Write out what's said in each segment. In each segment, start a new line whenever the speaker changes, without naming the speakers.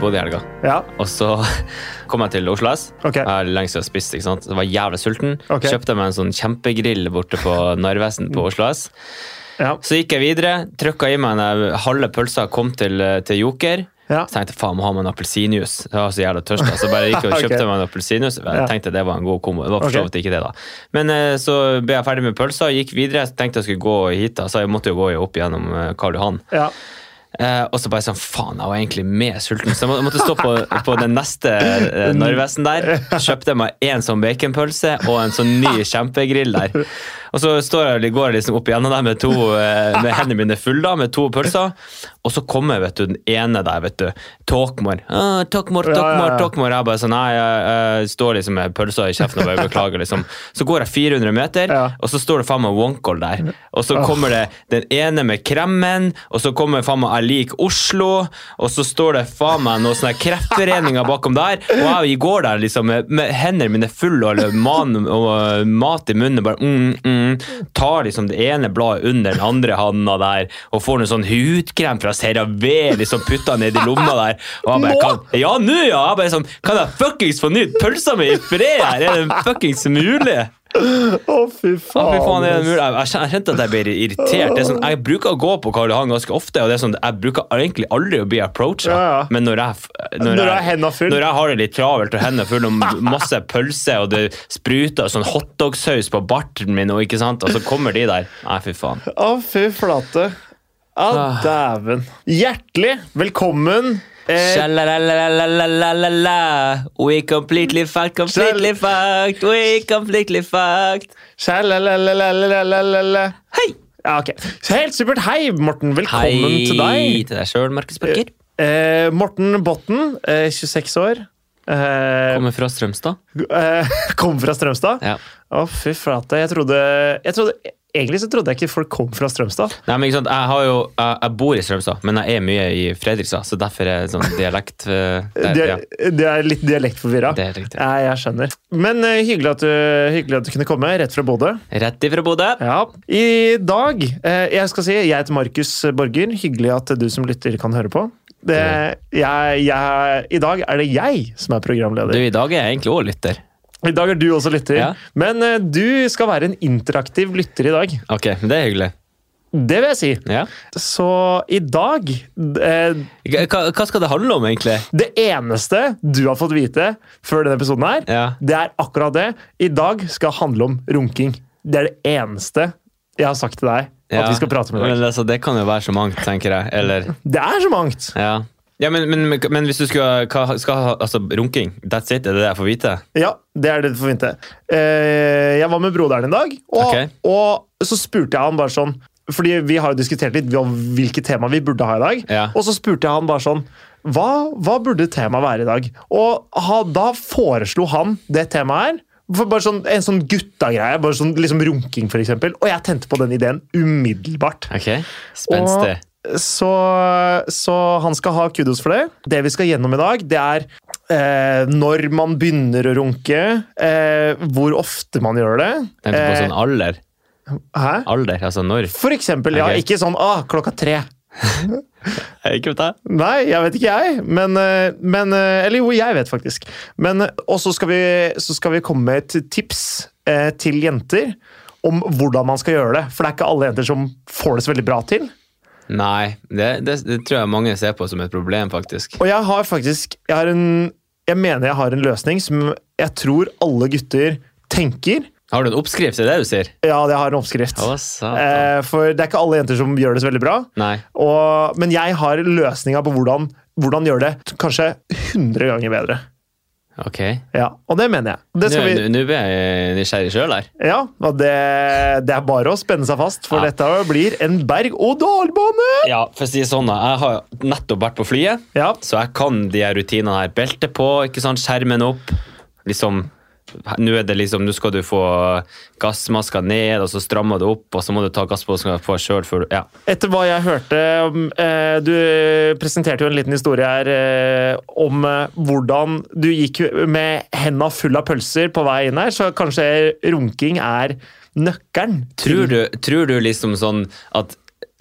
bodde i helga.
Ja,
Og så kom jeg til Oslo S.
ok.
Jeg har lenge siden spist, ikke sant? Jeg var jævlig sulten.
Ok.
Kjøpte meg en sånn kjempegrill borte på Narvesen på Oslo S.
Ja,
Så gikk jeg videre, trykka i meg den halve pølsa, kom til, til Joker.
ja.
Så tenkte jeg, faen, må ha meg en appelsinjuice. Jeg var så jævla tørst. da. Så bare gikk jeg og kjøpte
Ok.
meg en appelsinjuice. Jeg
Ja.
tenkte det var en god kombo. Det var for
Ok.
så vidt ikke det, da. Men eh, så ble jeg ferdig med pølsa og gikk videre. Jeg tenkte jeg skulle gå hit, da. så jeg måtte jo gå opp gjennom eh, Karl Johan.
ja.
Eh, og så bare sånn, faen, jeg var egentlig mer sulten. Så jeg må- måtte stå på, på den neste eh, Narvesen der. Kjøpte meg en sånn baconpølse og en sånn ny kjempegrill der. Og så står jeg, går jeg liksom opp igjennom der med, to, eh, med hendene mine fulle da, med to pølser. Og så kommer vet du, den ene der, vet du. Tokmor. Ah, tokmor,
Ja, ja,
tokmor,
ja.
tokmor. Jeg bare sånn, nei, jeg, jeg står liksom med pølser i kjeften og bare beklager, liksom. Så går jeg 400 meter,
Ja.
og så står det faen meg Wonkol der. Og så kommer det den ene med kremmen, og så kommer faen meg Jeg liker Oslo, og så står det faen meg noen sånne kreftforeninger bakom der. Og jeg i går der liksom med, med hendene mine fulle og man, og eh, mat i munnen, bare mm, mm, tar liksom det ene bladet under den andre handa der, og får noe sånn hudkrem fra CeraVe, liksom putta ned i lomma der. Og jeg bare, kan, ja, nå ja! Jeg bare sånn, kan jeg fuckings få nytt pølsa mi i fred her? Er det fuckings mulig?
Å, fy
Ja,
faen. altså.
fy faen, er det
ass.
mulig? Jeg, jeg kjen- jeg kjente at jeg ble irritert. Det er sånn, jeg bruker å gå på Karl Johan ganske ofte, og det er sånn, jeg bruker egentlig aldri å bli approachet.
Ja, ja.
Men når jeg, f-
Når du har hendene full.
når jeg har det litt travelt og hendene full og masse pølse, og det spruter sånn hotdogsaus på barten min, og, ikke sant? og så kommer de der. Nei, fy faen.
Å, fy flate. Å,
Ah.
dæven. Hjertelig velkommen. Eh,
Sjalalalalala, We completely fucked, completely fucked, we completely fucked.
sjalalalalalala.
Hei!
Ja, ok. Helt supert. Hei, Morten. Velkommen
Hei
til deg.
til deg sjøl, Markus Becker.
Eh, Morten Botten, eh, 26 år. Eh,
Kommer fra Strømstad.
eh, kom fra Strømstad?
Ja.
Å, fy flate. Jeg trodde, jeg trodde Egentlig så trodde jeg ikke folk kom fra Strømstad.
Nei, men ikke sant, jeg, har jo, jeg, jeg bor i Strømstad, men jeg er mye i Fredrikstad, så derfor er det sånn dialekt eh, der,
De
ja.
er, de er litt dialektforvirra.
Det er riktig.
Ja, jeg skjønner. Men eh, hyggelig, at du, hyggelig at du kunne komme, rett fra Bodø.
Rett ifra Bodø.
Ja. I dag eh, Jeg skal si jeg heter Markus Borger. Hyggelig at du som lytter kan høre på. Det, jeg, jeg, I dag er det jeg som er
Du,
programleder.
i dag er jeg egentlig òg lytter.
I dag er du også lytter.
Ja.
Men eh, du skal være en interaktiv lytter i dag.
Ok, men det er hyggelig.
Det vil jeg si.
Ja.
Så i dag eh,
Hva, hva skal det handle om, egentlig?
Det eneste du har fått vite før denne episoden her,
Ja.
det er akkurat det. I dag skal handle om runking. Det er det eneste jeg har sagt til deg at
Ja,
vi skal prate om i dag.
Men altså, det kan jo være så mangt, tenker jeg. Eller,
Det er så mangt!
ja. Ja, men, men, men, men hvis du skulle hva, skal, ha- Altså, runking. That's it? Er det det jeg får vite?
Ja, det er det du får vite. Eh, jeg var med broderen en dag, og,
Ok.
og så spurte jeg han bare sånn Fordi vi har jo diskutert litt om hvilke tema vi burde ha i dag.
Ja.
Og så spurte jeg han bare sånn hva, hva burde temaet være i dag? Og ha, da foreslo han det temaet her. For bare sånn, en sånn gutta-greie. bare sånn liksom Runking, for eksempel. Og jeg tente på den ideen umiddelbart.
Ok, Spenstig.
Så, så han skal ha kudos for det. Det vi skal gjennom i dag, det er eh, når man begynner å runke, eh, hvor ofte man gjør det.
Tenkte på
eh,
sånn alder.
Hæ?
Alder, altså når.
For eksempel, ja.
Ok.
Ikke sånn ah, klokka tre.
Ikke vet jeg.
Nei, jeg vet ikke jeg. Men, eh, men eh, Eller jo, jeg vet faktisk. Men, eh, og så skal, vi- så skal vi komme med et tips eh, til jenter om hvordan man skal gjøre det. For det er ikke alle jenter som får det så veldig bra til.
Nei, det, det, det tror jeg mange ser på som et problem, faktisk.
Og jeg har faktisk jeg, har en, jeg mener jeg har en løsning som jeg tror alle gutter tenker.
Har du en oppskrift? Er det det du sier?
Ja, jeg har en oppskrift.
Å, satan.
Eh, for det er ikke alle jenter som gjør det så veldig bra.
Nei.
Og, men jeg har løsninga på hvordan, hvordan gjøre det t- kanskje 100 ganger bedre.
Ok.
Ja, Og det mener jeg. Det,
Nå
skal vi,
nå- nå ble jeg nysgjerrig sjøl her.
ja, og det, det er bare å spenne seg fast, for
Ja.
dette blir en berg-og-dal-bane!
Ja, for å si det sånn, da. Jeg har nettopp vært på flyet,
Ja,
så jeg kan de her rutinene her. Belte på, ikke sant, skjermen opp. Liksom Nå er det liksom, nå skal du få gassmaska ned, og så strammer du opp, og så må du ta gassmaska på sjøl før du Ja.
Etter hva jeg hørte um, eh, Du presenterte jo en liten historie her eh, om eh, hvordan du gikk med henda full av pølser på vei inn her, så kanskje runking er nøkkelen. til-
Tror du, tror du liksom sånn at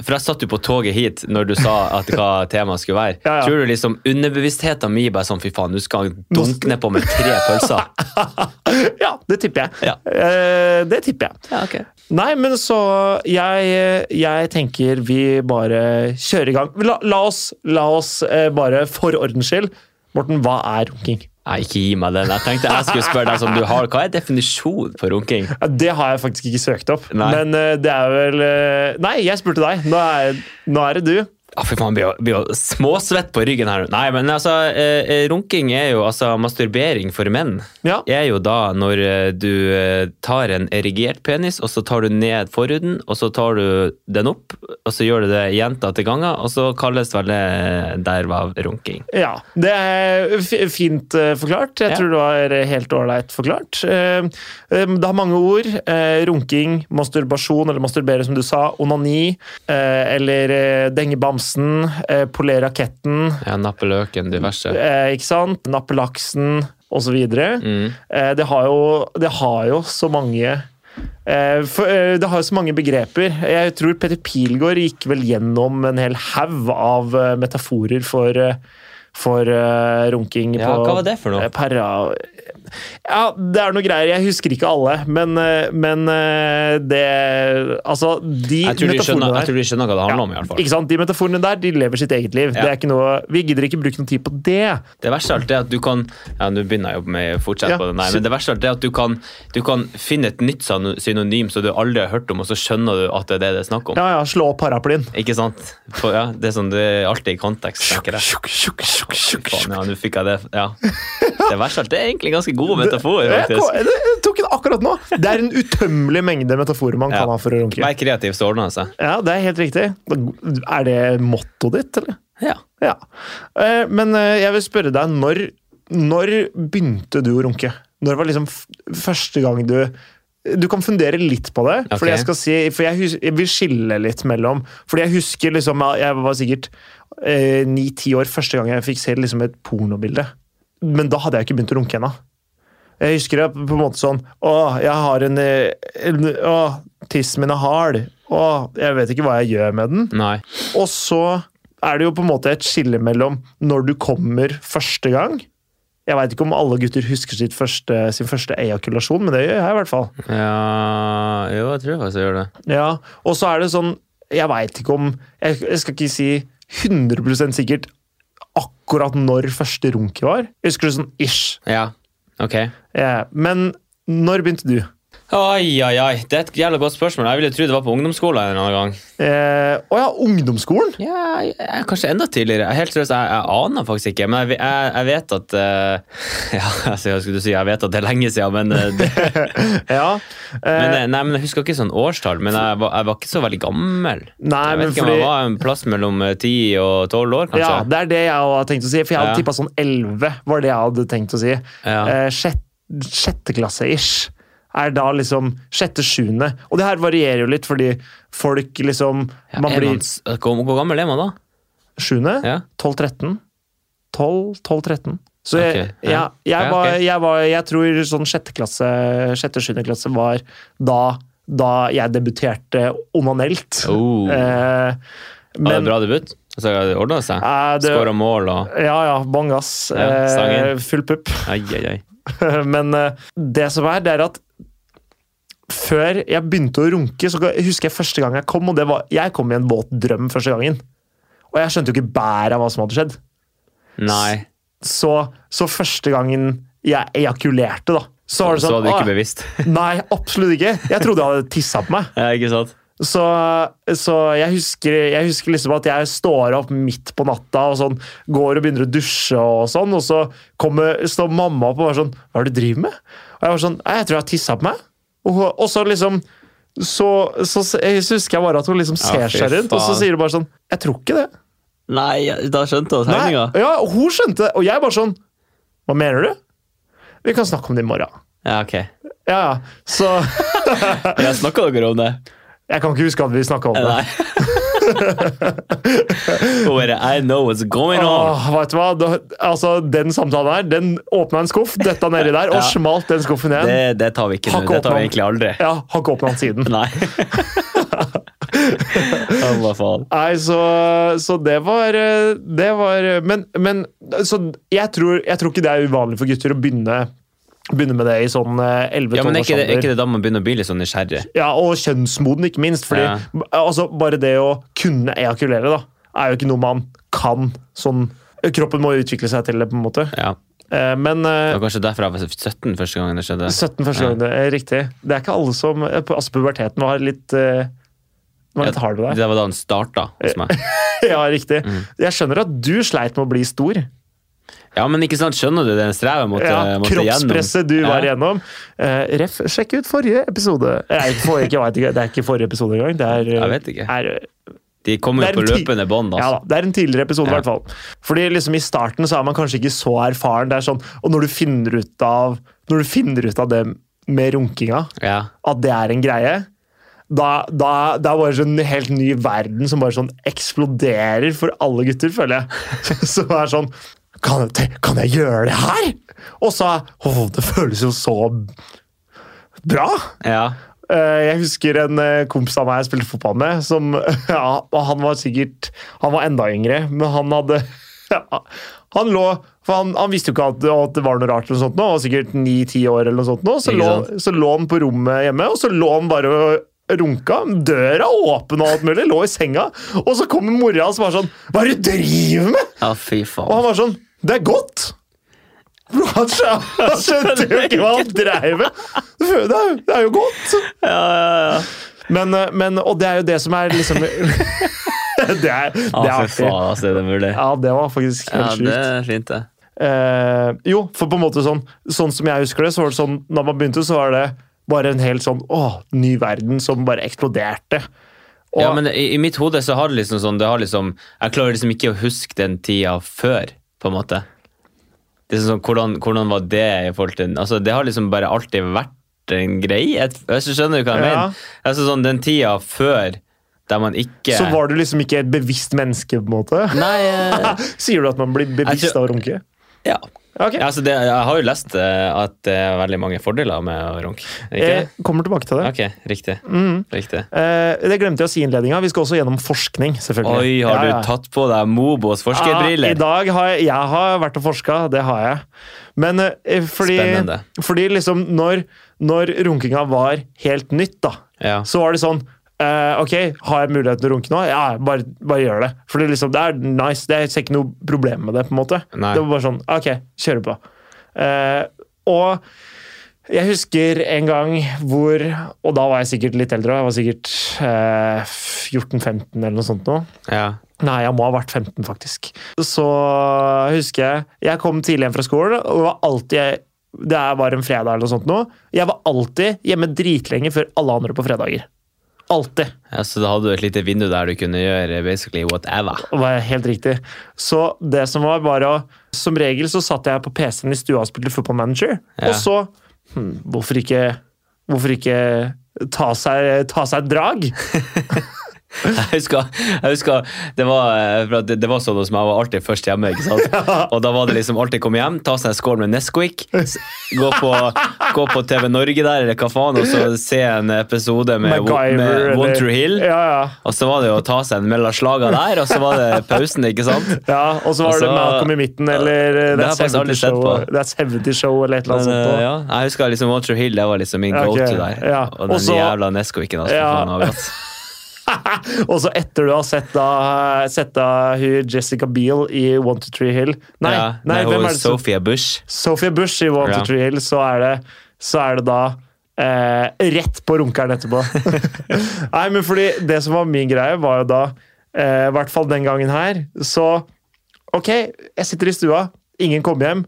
For jeg satt jo på toget hit når du sa at hva temaet skulle være.
Ja, ja.
Tror du liksom underbevisstheten min bare sånn fy faen, nå skal han dunke nedpå med tre pølser?
ja, det tipper jeg.
Ja.
Eh, det tipper jeg.
Ja, ok.
Nei, men så Jeg, jeg tenker vi bare kjører i gang. La, la oss, la oss eh, bare for ordens skyld Morten, hva er runking?
Nei, ikke gi meg den. Jeg tenkte jeg skulle spørre deg som du har. Hva er definisjonen på runking?
Ja, Det har jeg faktisk ikke søkt opp.
Nei.
Men eh, det er vel eh, Nei, jeg spurte deg. Nå er, nå er det du.
Å, fy faen, blir jo- blir jo småsvett på ryggen her. nå. Nei, men altså, eh, eh, runking er jo altså masturbering for menn.
Ja.
er jo da når eh, du eh, tar en erigert penis, og så tar du ned forhuden, og så tar du den opp, og så gjør du det gjenta til ganger, og så kalles vel det dervav runking.
Ja, det er f- fint eh, forklart. Jeg
Ja.
tror det var helt ålreit forklart. Eh, eh, Det har mange ord. Eh, Runking, masturbasjon, eller masturbere som du sa, onani, eh, eller eh, denge bamsen, eh, polere raketten,
Ja, nappe løken, diverse.
eh, ikke sant? nappe laksen, osv.
Mm.
Eh, Det har jo, det har jo så mange eh, for, eh, Det har jo så mange begreper. Jeg tror Peter Pilgaard gikk vel gjennom en hel haug av eh, metaforer for, eh, for eh, runking.
Ja,
på,
hva var det for noe?
eh, Para... Ja, det er noe greier. Jeg husker ikke alle, men, eh, men eh, det Altså, de
Jeg tror, de skjønner,
metaforene
jeg
der
tror de skjønner hva det handler om, i
ja,
alle fall.
ikke sant? De metaforene der de lever sitt eget liv.
Ja.
Det er ikke noe, vi gidder ikke bruke noe tid på det.
Det verste av alt er at du kan Ja, nå begynner jeg jo med fortsett
Ja,
på den der,
så-
men det verste av alt er at du kan, du kan finne et nytt syn- synonym som du aldri har hørt om, og så skjønner du at det er det det er snakk om.
Ja, ja, Slå opp paraplyen.
Ikke sant? For, ja, det er sånn det er alltid i kontekst, tenker jeg.
Tjukk, tjukk, tjukk, tjukk,
Faen, ja, nå fikk jeg det. Ja. Det verste av alt er egentlig en ganske god metafor,
Jeg kom-
faktisk.
Det jeg tok den akkurat nå! Det er en utømmelig mengde metaforer man
Ja.
kan ha for å runke.
Vær kreativ, sånn, altså. så ordner det seg.
Ja, det er helt riktig. Er det mottoet ditt, eller?
Ja.
Ja. Eh, Men eh, jeg vil spørre deg, når, når begynte du å runke? Når var liksom f- første gang du du kan fundere litt på det,
Ok.
fordi jeg skal si, for jeg, hus- jeg vil skille litt mellom Fordi jeg husker liksom ja, Jeg var sikkert eh, ni-ti år første gang jeg fikk se liksom et pornobilde. Men da hadde jeg ikke begynt å runke ennå. Jeg husker det på en måte sånn Å, jeg har en, eh, en Å, tissen min er hard. Å, jeg vet ikke hva jeg gjør med den.
Nei.
Og så er det jo på en måte et skille mellom når du kommer første gang Jeg veit ikke om alle gutter husker sitt første, sin første ejakulasjon, men det gjør jeg i hvert fall.
Ja Jo, jeg tror faktisk jeg gjør det.
Ja, Og så er det sånn Jeg veit ikke om jeg, jeg skal ikke si 100 sikkert akkurat når første runk var. Jeg husker det sånn ish.
Ja. Ok.
Ja, men når begynte du?
Oi, oi, oi. Det er et jævla godt spørsmål. Jeg ville tro det var på ungdomsskolen en eller annen gang.
Eh, å ja, ungdomsskolen?
Ja, jeg- jeg- kanskje enda tidligere. Jeg- Helt seriøst, jeg, jeg aner faktisk ikke. Men jeg, jeg, jeg vet at eh, Ja, altså, jeg skulle si jeg vet at det er lenge siden, men, eh, det,
Ja.
men,
Eh,
eh, nei, men jeg husker ikke sånn årstall. Men jeg, var- jeg var ikke så veldig gammel.
nei,
jeg vet
men
ikke om
fordi
jeg var en plass mellom eh, 10 og 12 år,
Ja,
kanskje.
det er det jeg har tenkt å si. For jeg hadde
Ja.
tippa sånn 11, var det jeg hadde tenkt å si.
Ja.
Eh, sjett, sjette klasse-ish er da liksom sjette-sjuende. Og det her varierer jo litt, fordi folk liksom
Ja,
Man
er man
blir
s- hvor, hvor gammel er man da?
sjuende,
Ja.
12-13. 12-13. Så jeg,
Ok, ja.
ja. jeg,
Ja,
var,
ok.
jeg var Jeg tror sånn sjette klasse, sjette-sjuende klasse var da, da jeg debuterte onanelt.
Oh.
Eh,
Var det
men
bra debut? Altså, det ordna seg?
eh, det-
Skåra mål og
Ja, ja. Bang, ass.
Ja, sangen.
eh, full pupp.
Ai, ai, ai.
Men eh, det som er, det er at før jeg begynte å runke, så husker jeg første gang jeg kom, og det var Jeg kom i en våt drøm første gangen. Og jeg skjønte jo ikke bæret av hva som hadde skjedd.
Nei.
Så, så første gangen jeg ejakulerte, da, så var det
Så
sånn
hadde du ikke
«Ah,
bevisst.
Nei, absolutt ikke. Jeg trodde jeg hadde tissa på meg.
ja, ikke sant?
Så, så jeg, husker, jeg husker liksom at jeg står opp midt på natta og sånn, går og begynner å dusje, og sånn, og så kommer, står mamma opp og er sånn 'Hva er det du driver med?' Og jeg var sånn «Nei, 'Jeg tror jeg har tissa på meg'. Og, og så liksom så, så, s- jeg husker jeg bare at hun liksom ser
fy
seg rundt, og så
faen.
sier hun bare sånn 'Jeg tror ikke det'.
Nei, da skjønte jeg
Nei,
tegninga.
ja, og hun skjønte det, og jeg bare sånn 'Hva mener du?' 'Vi kan snakke om det i morgen'.
Ja, ok.
Ja, ja. Så
Jeg snakka dere om det?
jeg kan ikke huske at vi snakka om det.
Nei. Hun bare, I know what's going on.
Åh, vet du hva? Da, altså, den samtalen her, den åpna en skuff, detta nedi der, og
Ja.
smalt den skuffen igjen.
Det, det tar vi ikke nå.
Ah, Hakk
Det tar
opp,
vi egentlig aldri.
Ja, Har ikke åpna den siden.
Nei. Hva faen?
Nei, så, så det var eh, Det var Men, men så jeg, tror, jeg tror ikke det er uvanlig for gutter å begynne, begynne med det i sånn eh, 11-12
Ja, men er
års
ikke, det, er
alder.
ikke det da man begynner å bli litt sånn nysgjerrig?
Ja, og kjønnsmoden, ikke minst. Fordi
Ja.
altså, bare det å kunne ejakulere, da, er jo ikke noe man kan sånn Kroppen må jo utvikle seg til det, på en måte.
Ja.
Eh, Men eh,
Det var kanskje derfor jeg var 17 første gangen det skjedde.
17 første gangen, det er riktig. Det er ikke alle som eh, på- Altså, puberteten var litt eh, var litt hard med deg.
Det var da den starta hos meg.
Ja, riktig.
Mm.
Jeg skjønner at du sleit med å bli stor.
Ja, men ikke sant, skjønner du den strevet jeg måtte,
Ja,
måtte gjennom?
kroppspresset du var
Ja.
igjennom. Eh, ref, sjekk ut forrige episode. Nei, ikke forrige, ikke, jeg vet ikke, det er ikke forrige episode engang. Det er, eh,
Jeg vet ikke.
Er,
De kommer
Det er
jo på
en ti-
løpende bånd,
ja
altså.
da, det er en tidligere episode, i
Ja.
hvert fall. Fordi liksom I starten så er man kanskje ikke så erfaren. Det er sånn, Og når du finner ut av, når du finner ut av det med runkinga,
Ja.
at det er en greie da, da, Det er bare sånn en helt ny verden som bare sånn eksploderer for alle gutter, føler jeg. Som er sånn Kan jeg, kan jeg gjøre det her?! Og så Åh, det føles jo så bra!
ja.
Eh, Jeg husker en eh, kompis av meg jeg spilte fotball med, som ja, og Han var sikkert Han var enda yngre, men han hadde Han lå for han, han visste jo ikke at, at det var noe rart, eller noe sånt nå, han var sikkert 9-10 år. eller noe sånt nå, så,
Ikke
lå, så lå han på rommet hjemme, og så lå han bare og runka. Døra åpen og alt mulig, lå i senga. Og så kommer mora hans og var sånn Hva er det du driver med?!
Ja, fy
Og han
faen.
var sånn Det er godt! Bro, han skjø- han skjønte jo ikke hva han dreiv med! Det er jo- det er jo godt!
Ja, ja, ja.
Men, eh, men, og det er jo det som er liksom Det er, det er
Ja, fy
artig.
faen, altså, er det mulig?
Ja, det var faktisk
Ja,
helt
det
sjukt.
er fint, det.
Eh, jo, for på en måte sånn Sånn som jeg husker det, så var det sånn Da man begynte, så var det bare en helt sånn åh, ny verden som bare eksploderte. Og,
Ja, men i, i mitt hode så har det liksom sånn det har liksom, Jeg klarer liksom ikke å huske den tida før, på en måte. Det er sånn, hvordan, hvordan var det i forhold til altså, Det har liksom bare alltid vært en greie. Jeg, jeg skjønner du hva jeg
Ja.
mener? Altså, sånn, den tida før der man ikke
Så var du liksom ikke et bevisst menneske, på en måte?
Nei, eh,
Sier du at man blir bevisst
Jeg tror-
av å runke?
ja.
Ok,
Ja, altså det, jeg har jo lest eh, at det er veldig mange fordeler med å runke. Ikke?
Jeg kommer tilbake til det.
Ok, riktig. riktig.
Eh, det glemte jeg å si i innledninga. Vi skal også gjennom forskning, selvfølgelig.
Oi, har
Ja, ja.
du tatt på deg Mobos
Ja,
forskerbriller?
Ah, I dag har jeg, jeg har vært og forska, det har jeg. Men eh, fordi,
Spennende.
fordi liksom når, når runkinga var helt nytt, da,
Ja.
så var det sånn eh, ok, har jeg muligheten til å runke nå? Ja, bare, bare gjør det. Fordi liksom, det er nice. Det er jeg ser ikke noe problem med det. på en måte.
Nei.
Det var bare sånn, ok, kjøre på. Eh, og jeg husker en gang hvor Og da var jeg sikkert litt eldre. Jeg var sikkert eh, 14-15 eller noe sånt. nå.
Ja.
Nei, jeg må ha vært 15, faktisk. Så husker jeg Jeg kom tidlig hjem fra skolen, og var alltid Det var en fredag eller noe sånt nå. Jeg var alltid hjemme dritlenge før alle andre på fredager. Alltid.
Ja, så da hadde du et lite vindu der du kunne gjøre basically whatever.
Det var helt riktig. Så det som var bare å Som regel så satt jeg på PC-en i stua og spilte Football Manager,
Ja.
og så hm, Hvorfor ikke Hvorfor ikke ta seg, ta seg et drag?
Jeg husker, jeg husker det, var, eh, for at det, det var sånn hos meg, jeg var alltid først hjemme. ikke sant? Og da var det liksom alltid komme hjem, ta seg en skål med Nesquik, s- gå på, gå på TV Norge der, eller hva faen, og så se en episode med,
MacGyver,
med One
eller-
True Hill.
Ja, ja.
Og så var det jo å ta seg en mellom slaga der, og så var det pausen, ikke sant?
Ja, og så var
Altså,
det Malcolm i midten, eller eh,
det har
That's
jeg faktisk
70
aldri sett
Show,
på.
That's 70 Show, eller et eller annet
Men,
sånt.
eh,
nå.
ja, jeg husker liksom One True Hill, det var liksom min
Ja, ok,
go-to der.
ja.
Og den
Og så-
jævla Nesquiken. Altså,
Ja.
faen, det var godt.
Og så etter du har sett da, sett da hun Jessica Biel i One to Three Hill Nei,
ja.
nei,
hun
hvem er det som
Sophia Bush.
Sophie Bush i One
Ja.
to Three Hill, så er det, så er det da eh, rett på runkeren etterpå. nei, men fordi det som var min greie, var jo da eh, I hvert fall den gangen her, så Ok, jeg sitter i stua, ingen kommer hjem.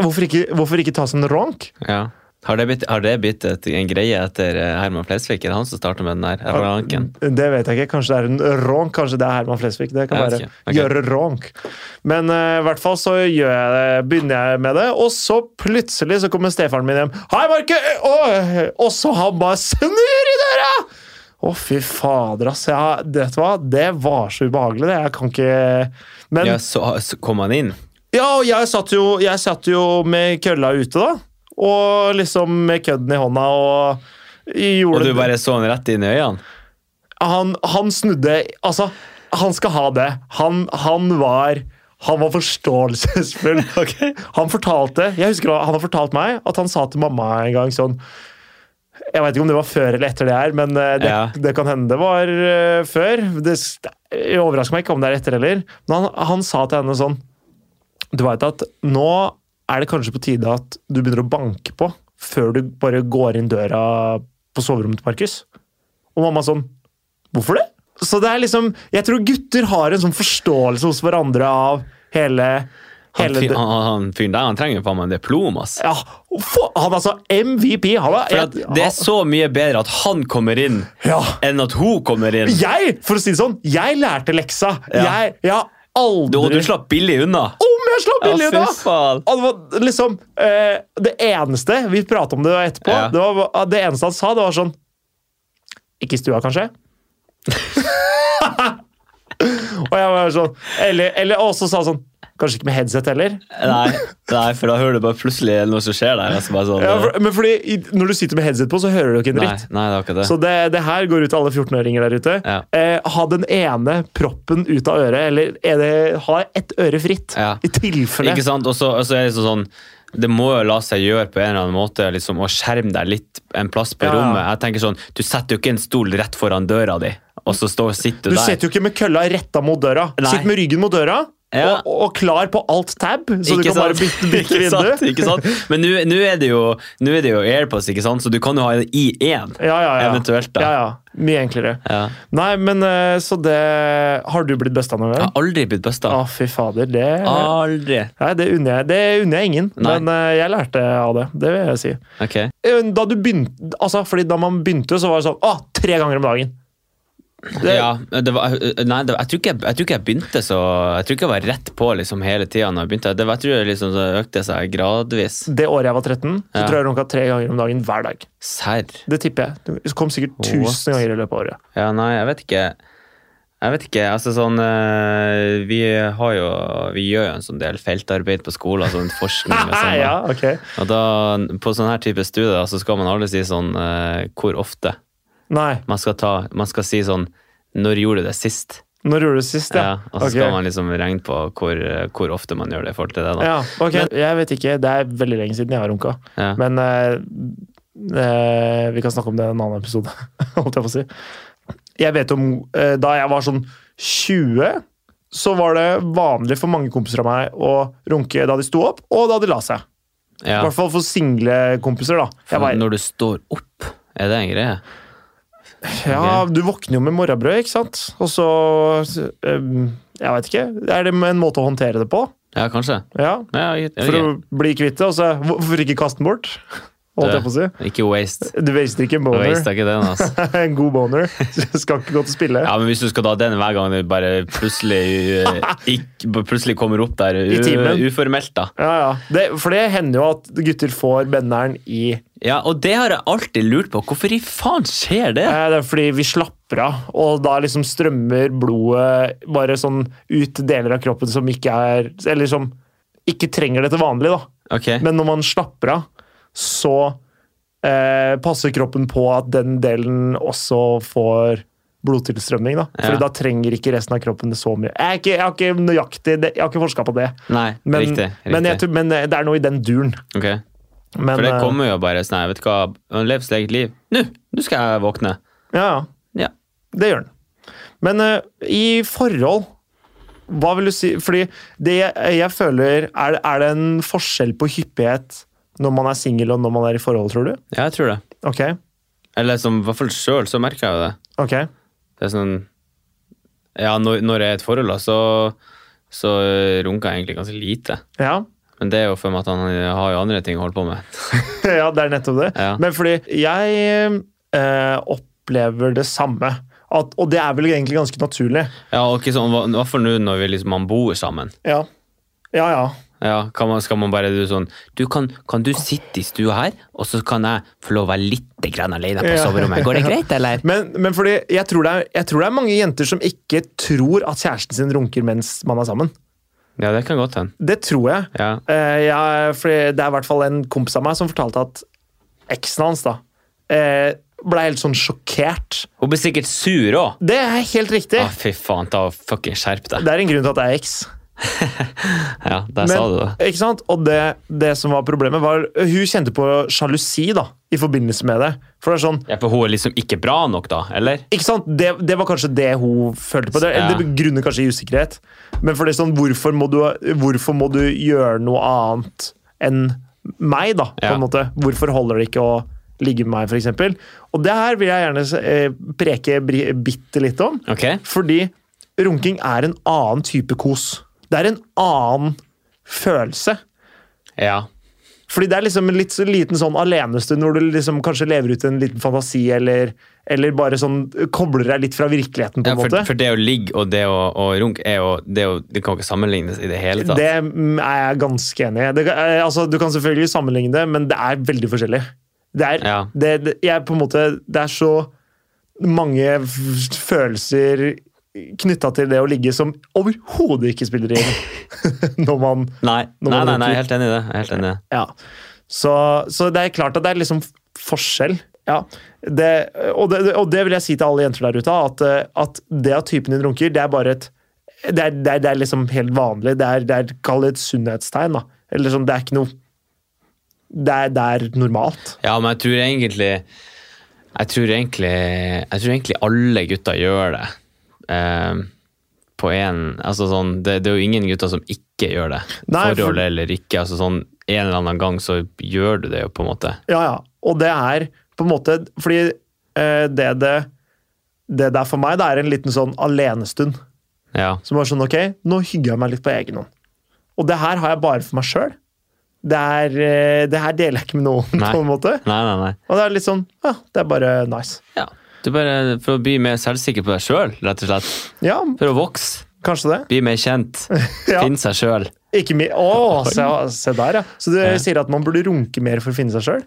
Hvorfor ikke, hvorfor ikke ta seg en ronk?
Ja. Har det blitt, har det blitt et, en greie etter eh, Herman Flesvig? Er det han som starta med den der? Eller var det Anken?
Det vet jeg ikke. Kanskje det er en ronk. Kanskje det er Herman Flesvig. Det kan
Jeg
være
vet ikke. Ok.
gjøre ronk. Men eh, i hvert fall så gjør jeg det, begynner jeg med det, og så plutselig så kommer stefaren min hjem. Hei, Marke! Og, og så han bare snur i døra! Å, fy fader, ass. Jeg, har- vet du hva? Det var så ubehagelig, det. Jeg kan ikke Men
Ja, så, ah, så kom han inn.
ja, og jeg satt jo, jeg satt jo med kølla ute, da. Og liksom med kødden i hånda og gjorde
Og du bare så han rett inn i øynene?
han, han snudde Altså, han skal ha det. Han, han var han var forståelsesfull. Han fortalte, jeg husker han har fortalt meg at han sa til mamma en gang sånn Jeg veit ikke om det var før eller etter det her, men eh, det,
Ja.
det kan hende det var eh, før. Det s- det overrasker meg ikke om det er etter heller. Men han, han sa til henne sånn Du veit at nå er det kanskje på tide at du begynner å banke på før du bare går inn døra på soverommet til Markus. Og mamma sånn Hvorfor det? Så det er liksom Jeg tror gutter har en sånn forståelse hos hverandre av hele,
Han,
hele
fyr,
det-
han, han fyren der han trenger faen meg en diplom, ass.
ja, for, han altså MVP! Han er,
For at det er så mye bedre at han kommer inn,
Ja.
enn at hun kommer inn.
Jeg, for å si det sånn, jeg lærte leksa.
Ja.
Jeg, jeg har aldri
Og du slapp billig unna.
Om jeg slapp
Ja,
billig
fy
unna!
faen.
Og det var liksom eh, Det eneste Vi pratet om det etterpå.
Ja.
Det, var, det eneste han sa, det var sånn Ikke i stua, kanskje? og jeg var sånn Eller, eller også sa han sånn Kanskje ikke med headset heller.
Nei, nei, for da hører du bare plutselig noe som skjer der. Altså bare sånn,
Ja, for, men fordi i, Når du sitter med headset på, så hører du ikke en
nei,
dritt.
nei, det er akkurat det.
Så det, det her går ut til alle 14-åringer der ute.
Ja.
Eh, ha den ene proppen ut av øret, eller er det, ha ett øre fritt.
Ja.
I tilfelle.
Ikke sant? Og så og så er det liksom sånn det må jo la seg gjøre på en eller annen måte liksom, å skjerme deg litt en plass på
Ja.
rommet. Jeg tenker sånn, Du setter jo ikke en stol rett foran døra di, og så står, sitter du,
Du
der.
sitter jo ikke med kølla retta mot døra.
Nei.
Sitt med ryggen mot døra
Ja.
og, og klar på alt tab, så du kan bare bytte, bytte
Ikke
vindu.
sant? Ikke sant? Men nå nå er det jo nå er det jo AirPods, ikke sant? så du kan jo ha i én.
Ja, ja, ja.
Eventuelt, da.
Ja, ja. Mye enklere.
Ja.
Nei, men eh, så det Har du blitt besta noen
Jeg
gang?
har aldri blitt busta.
Å, fy fader. Det,
Aldri.
nei, det unner jeg, det unner jeg ingen,
Ah. Nei.
men eh, jeg lærte av det. Det vil jeg si.
Ok.
Eh, Da, du begynte, altså, fordi da man begynte, så var det sånn Å, tre ganger om dagen! Det,
ja, det var, eh, nei, det var, jeg, tror ikke jeg, jeg tror ikke jeg begynte så Jeg tror ikke jeg var rett på liksom hele tida. Jeg, begynte. det var- jeg tror det liksom så økte seg gradvis.
det året jeg var 13, så
Ja.
tror jeg runka tre ganger om dagen hver dag.
Serr?
Det tipper jeg. Det kom sikkert 1000
What?
ganger i løpet av året.
Ja, nei, jeg vet ikke. Jeg vet ikke, altså sånn eh, Vi har jo Vi gjør jo en sånn del feltarbeid på skolen, sånn forskning og sånn. da.
ja, ok.
Og da, på sånn her type studier da, så skal man aldri si sånn eh, hvor ofte.
Nei.
Man skal, ta, man skal si sånn når gjorde du det sist?
Når gjorde du det sist?
Ja, og så
Ok.
skal man liksom regne på hvor, eh, hvor ofte man gjør det i forhold til det. da.
ja, ok. Jeg vet ikke. Det er veldig lenge siden jeg har runka.
Ja.
Men eh, eh, vi kan snakke om det i en annen episode, holdt jeg på å si. Jeg vet om eh, Da jeg var sånn 20, så var det vanlig for mange kompiser av meg å runke da de sto opp, og da de la seg. I
Ja.
hvert fall for single kompiser, da. Jeg var,
Når du står opp, er det en greie?
ja, du våkner jo med morgenbrød, ikke sant? Og så eh, Jeg veit ikke. Er det en måte å håndtere det på?
Ja, kanskje.
Ja.
Ja, jeg, jeg,
For
jeg,
å bli kvitt det, og så hvorfor ikke kaste den bort? Holdt jeg på å si.
Ikke waste.
Du waster ikke en boner.
Waste er ikke den, altså.
En god boner skal ikke gå til spille.
Ja, men Hvis du skal ta den hver gang du bare plutselig, eh, ikk- plutselig kommer opp der
I timen.
u, uformelt, da.
Ja, ja. Det, for det hender jo at gutter får benneren i eh,
Ja, Og det har jeg alltid lurt på. Hvorfor i faen skjer det?
eh, Det er fordi vi slapper av, og da liksom strømmer blodet bare sånn ut til deler av kroppen som ikke er Eller som ikke trenger det til vanlig, da.
Ok.
Men når man slapper av, så eh, passer kroppen på at den delen også får blodtilstrømning. da. Fordi
Ja.
da trenger ikke resten av kroppen det så mye. Jeg, er ikke, jeg har ikke nøyaktig, det- jeg har ikke forska på det.
Nei,
Men,
riktig. riktig.
Men, jeg, tror- men eh, det er noe i den duren.
Ok.
Men,
For det
eh,
kommer jo bare sånn, jeg vet hva, han lever sitt eget liv. Nå, nå skal jeg våkne.
Ja, ja.
Ja.
Det gjør den. Men eh, i forhold Hva vil du si Fordi det jeg, jeg føler er, er det en forskjell på hyppighet når man er singel og når man er i forhold, tror du?
ja, jeg tror det.
Ok.
Eller som, i hvert fall selv, så merker jeg jo det.
ok.
Det er sånn, ja, når, når jeg er i et forhold da, så, så runker jeg egentlig ganske lite.
Ja.
Men det er jo for meg at han har jo andre ting å holde på med.
ja, det er nettopp det.
Ja.
Men fordi jeg eh, opplever det samme. At, og det er vel egentlig ganske naturlig.
Ja, og ikke sånn, hva- i hvert fall nå når vi liksom, man bor sammen.
Ja. Ja, ja.
Ja, kan man, skal man bare du sånn, du kan, kan du sitte i stua her, og så kan jeg få lov å være litt grann alene på
Ja.
soverommet. Går det greit, eller?
Men, men fordi jeg tror, det er, jeg tror det er mange jenter som ikke tror at kjæresten sin runker mens man er sammen.
Ja, det kan godt hende.
Det tror jeg.
Ja.
Eh, ja, for det er i hvert fall en kompis av meg som fortalte at eksen hans da, eh, ble helt sånn sjokkert.
Hun blir sikkert sur òg.
Det er helt riktig.
Å, fy faen, ta og fucking skjerp deg.
Det er en grunn til at jeg er eks.
Ja, der sa du det.
Ikke sant? Og det, det som var problemet, var Hun kjente på sjalusi da, i forbindelse med det. For det er sånn
Ja, for hun er liksom ikke bra nok, da? Eller?
ikke sant? Det, det var kanskje det hun følte på. Det,
Ja.
det grunner kanskje i usikkerhet. Men for det er sånn, hvorfor må, du, hvorfor må du gjøre noe annet enn meg, da? på
Ja.
en måte? Hvorfor holder det ikke å ligge med meg, f.eks.? Og det her vil jeg gjerne eh, preke bri- bitte litt om.
Ok?
Fordi runking er en annen type kos. Det er en annen følelse.
Ja.
Fordi det er liksom en litt så liten sånn alenestund hvor du liksom kanskje lever ut en liten fantasi, eller, eller bare sånn kobler deg litt fra virkeligheten, på
ja
en
for,
måte.
for det å ligge og det å, å runke er jo det, er jo, det kan jo ikke sammenlignes i det hele tatt.
Det mm, er jeg ganske enig i. Det kan- eh, Altså, du kan selvfølgelig sammenligne det, men det er veldig forskjellig. Det er,
Ja.
det, det, jeg på en måte, det er så mange f- følelser knytta til det å ligge som overhodet ikke spiller inn når man
Nei,
Når
nei, nei,
man
nei,
runker.
jeg er helt enig i det. Jeg er helt enig i det.
Ja. Så, så det er klart at det er liksom forskjell. Ja. Det, og, det, og det vil jeg si til alle jenter der ute, at, eh, at det at typen din runker, det er bare et Det er, det er, det er liksom helt vanlig. Det er, det er kall det et sunnhetstegn. da. Eller sånn, det er ikke noe Det er, det er normalt.
Ja, men jeg tror egentlig Jeg tror egentlig, jeg tror egentlig alle gutter gjør det. Ehm, på en, altså sånn, det, det er jo ingen gutter som ikke gjør det.
Nei, for-
Forhold eller ikke. altså sånn En eller annen gang så gjør du det jo, på en måte.
Ja, ja. Og det er på en måte Fordi eh, det det det der for meg, det er en liten sånn alenestund.
Ja.
Som var sånn, ok, nå hygger jeg meg litt på egen hånd. Og det her har jeg bare for meg sjøl. Det, er, eh, det her deler jeg ikke med noen,
Nei.
på en måte.
Nei, nei, nei.
Og det er litt sånn, ja, det er bare nice.
Ja. Du bare For å bli mer selvsikker på deg sjøl, rett og slett.
Ja,
For å vokse.
kanskje det.
Bli mer kjent.
Ja.
Finne seg sjøl.
Ikke mi Å, se, se der, ja. Så du
Ja.
sier at man burde runke mer for å finne seg sjøl?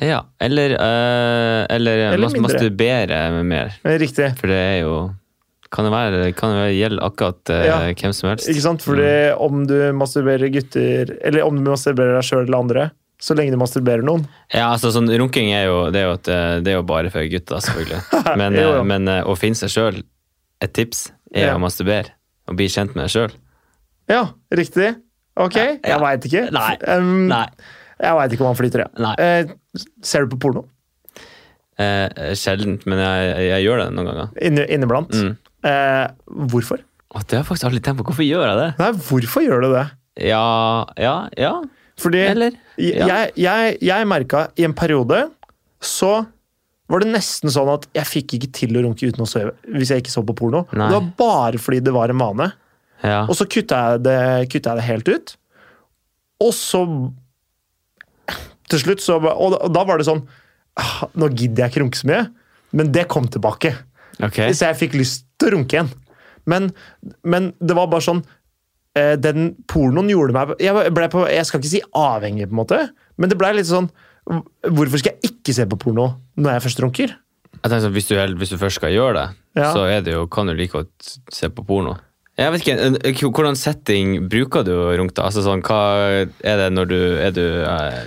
Ja. Eller, eh, eller,
Eller
mas-
mindre.
masturbere mer.
Eh, Riktig.
For det er jo Kan det være, kan det gjelde akkurat eh,
Ja.
hvem som helst?
Ikke sant? Fordi
Mm.
om du masturberer gutter, eller om du masturberer deg sjøl eller andre, så lenge du masturberer noen
Ja, altså sånn Runking er jo, det er jo, et, eh, det er jo bare for gutter, selvfølgelig. Men,
Jo, jo.
eh, men eh, å finne seg sjøl, et tips, er å
Ja.
masturbere. Og bli kjent med deg sjøl.
Ja, riktig. Ok,
ja.
jeg veit ikke.
Nei.
Um,
Nei.
Jeg veit ikke om han flyter, jeg.
Nei.
Eh, ser du på porno?
Eh, sjeldent, men jeg, jeg gjør det noen ganger.
Inne, inneblant.
Mm.
Eh, hvorfor?
Og det har jeg faktisk aldri tenkt på. Hvorfor gjør jeg det?
Nei, hvorfor gjør du det?
Ja, ja, ja.
Fordi
Eller? Ja.
jeg, jeg, jeg merka i en periode så var det nesten sånn at jeg fikk ikke til å runke uten å sove hvis jeg ikke så på porno.
Nei.
Det var bare fordi det var en vane.
Ja.
Og så kutta jeg det, kutta jeg det helt ut. Og så Til slutt så ba- Og da, og da var det sånn «Ah, Nå gidder jeg ikke runke så mye, men det kom tilbake.
Ok.
Så jeg fikk lyst til å runke igjen. Men, men det var bare sånn eh, Den pornoen gjorde meg jeg, ble på, jeg skal ikke si avhengig, på en måte, men det ble litt sånn Hvorfor skal jeg ikke se på porno når jeg først runker?
Jeg tenker sånn, hvis du, hel- hvis du først skal gjøre det,
Ja.
så er det jo, kan du like godt se på porno. Jeg vet ikke, eh, k- Hvordan setting bruker du å runke? da? Altså sånn, hva er det når du Er du eh, eh,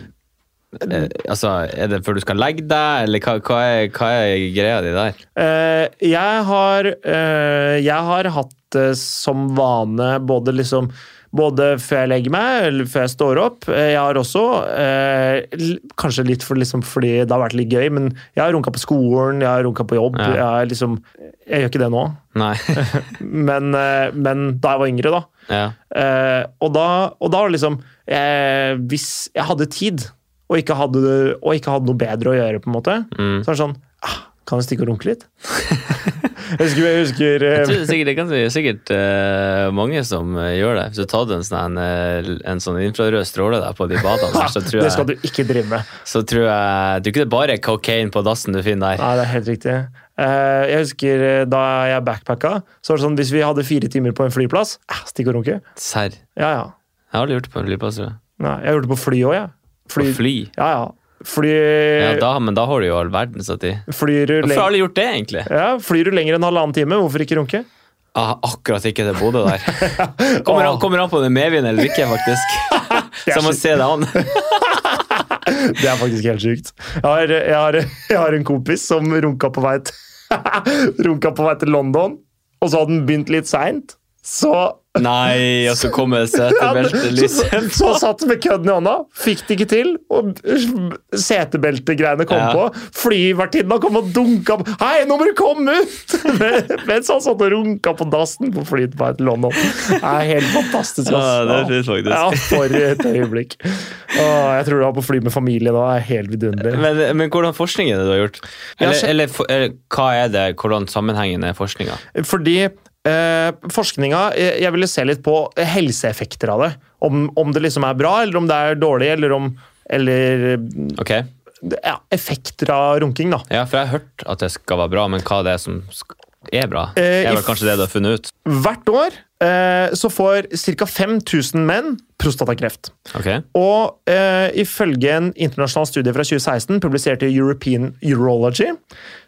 Altså, er det før du skal legge deg, eller hva, hva, er, hva er greia di der?
Eh, jeg har eh, Jeg har hatt det som vane både liksom både før jeg legger meg eller før jeg står opp. Eh, Jeg har også, eh, l- kanskje litt for, liksom, fordi det har vært litt gøy, men jeg har runka på skolen, jeg har runka på jobb.
Ja.
Jeg, har liksom, jeg gjør ikke det nå,
Nei.
men, eh, men da jeg var yngre, da.
ja.
Eh, og da. Og da var det liksom eh, Hvis jeg hadde tid, og ikke hadde, og ikke hadde noe bedre å gjøre, på en måte,
Mm.
så var det sånn ah, Kan jeg stikke og runke litt? jeg husker, jeg husker eh,
Jeg tror det er sikkert, det er ganske, sikkert eh, mange som eh, gjør det. Hvis du tar en sånn, en, eh, en sånn infrarød stråle der på de badene, der, så tror
Det skal
jeg,
du ikke drive med.
så tror jeg Du ikke det er bare kokain på dassen du finner der.
Nei, det er helt riktig. Eh, jeg husker eh, da jeg backpacka, så var det sånn hvis vi hadde fire timer på en flyplass ah, Stikk og runke.
Serr.
Ja, ja.
Jeg har aldri gjort det på en flyplass. tror jeg.
Nei, jeg gjorde det på fly òg, jeg. Fly, Eh,
På fly.
Ja, ja. Fly,
Ja, da, men da har du jo all verdens av tid.
flyr, du
Hvorfor har
leng-
alle gjort det, egentlig?
ja, flyr du lenger enn halvannen time, hvorfor ikke runke?
Ah, akkurat ikke til Bodø der. Kommer an, kommer an på om det er medvind eller ikke, faktisk. Så jeg må se det an.
Det er faktisk helt sjukt. Jeg har, jeg har, jeg har en kompis som runka på vei til Runka på vei til London, og så hadde den begynt litt seint. Så,
Nei, og så kommer liksom.
så, så,
setebeltelyset.
så satt den med kødden i hånda, fikk det ikke til, og setebeltegreiene kom
Ja.
på. Flyvertinna kom og dunka på 'Hei, nå må du komme ut!' Mens han satt og runka på dassen på flyet på vei til London. Det er helt fantastisk. ass.
Ja, det er fint faktisk.
Ja, for et øyeblikk. Åh, jeg tror du var på fly med familie nå. Det er helt vidunderlig.
Men, men hvordan forskning er det du har gjort?
Ja,
Eller,
så-
eller, for- eller hva er det, hvordan sammenhengen er forskninga?
Fordi eh, forskninga eh, Jeg ville se litt på helseeffekter av det. Om, om det liksom er bra, eller om det er dårlig, eller om Eller
Ok,
ja, effekter av runking, da.
ja, for jeg har hørt at det skal være bra, men hva det er som sk- er bra? Det
Eh,
er
i
vel kanskje det du har funnet ut?
Hvert år eh, så får ca. 5000 menn prostatakreft.
Ok,
Og eh, ifølge en internasjonal studie fra 2016, publisert i European Urology,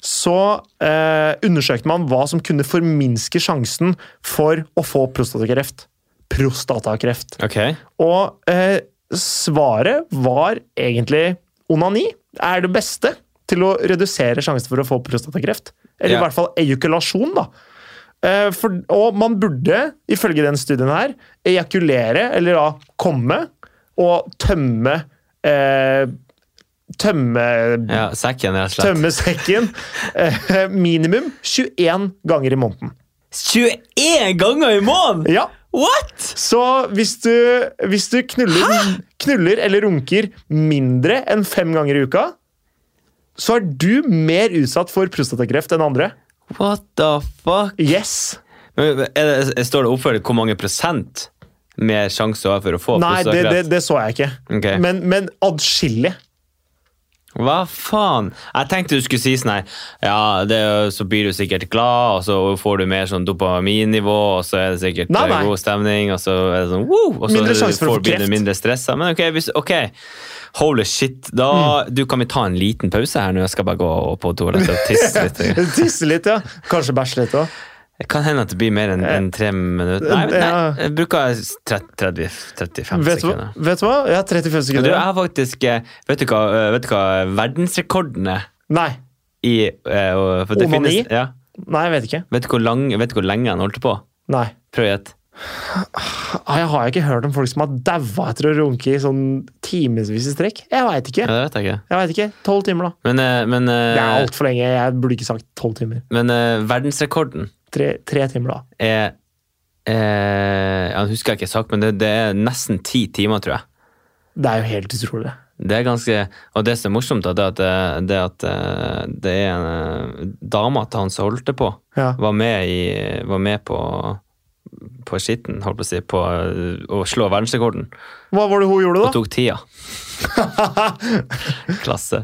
så eh, undersøkte man hva som kunne forminske sjansen for å få prostatakreft. Prostatakreft.
ok.
Og eh, svaret var egentlig onani. Det er det beste til å redusere sjansen for å få prostatakreft.
Ja.
Eller i hvert fall ejakulasjon, da. Eh, for, og man burde, ifølge den studien her, ejakulere, eller da komme, og tømme eh, Tømme
Ja, sekken rett og slett.
Tømme sekken eh, minimum 21 ganger i måneden.
21 ganger i måneden?!
Ja,
What?!
Så hvis du, hvis du knuller, knuller eller runker mindre enn fem ganger i uka, så er du mer utsatt for prostatakreft enn andre.
What the fuck?
Yes!
Men, er det, står det oppført hvor mange prosent mer sjanse du har for å få
Nei, det, det,
prostatakreft?
det så jeg ikke.
Ok.
Men, men adskillig.
Hva faen? Jeg tenkte du skulle si sånn her Ja, det, er jo- så blir du sikkert glad, og så får du mer sånn dopaminnivå, og så er det sikkert
Nei,
eh,
nei.
god stemning, og så er det sånn woo! Og så
Mindre sjanse for å
får
få
blir
kreft.
du mindre stressa. Men ok, hvis, ok. Holy shit. Da
Mm.
du, kan vi ta en liten pause her nå? Jeg skal bare gå på toalettet og tisse litt.
Tisse litt, ja. Kanskje bæsje litt òg.
Det kan hende at det blir mer enn enn tre minutter. Nei, men
Ja.
nei, jeg bruker s- tret- 30, 35
Vet, du
sekunder.
hva- vet du hva? Jeg har
Men
35
Du,
sekunder.
jeg har faktisk eh, Vet du hva, eh, vet du hva verdensrekorden er?
Nei.
I, eh, og- for det
Onani?
finnes- ja.
Nei, jeg vet ikke.
Vet du hvor, lang, vet du hvor lenge han holdt på?
Nei.
Prøv å gjette.
Ah, Jeg har ikke hørt om folk som har daua etter å runke i sånn timevis i strekk. Jeg veit
Ja,
ikke.
det vet jeg ikke.
Jeg vet ikke. Tolv timer, da.
Men, eh, men, eh,
Det er altfor lenge. Jeg burde ikke sagt tolv timer.
men eh, verdensrekorden
Tre, tre timer, da.
er eh, Jeg husker jeg ikke sagt, men det, det er nesten ti timer, tror jeg.
Det er jo helt utrolig.
Det er ganske, Og det som er morsomt, da, det er at, eh, det, er at eh, det er en eh, dama til han som holdt det på,
Ja.
var med, i, var med på på skitten, holdt på å si, på eh, å slå verdensrekorden.
Hva var det hun gjorde,
Og
da?
tok tida. Klasse.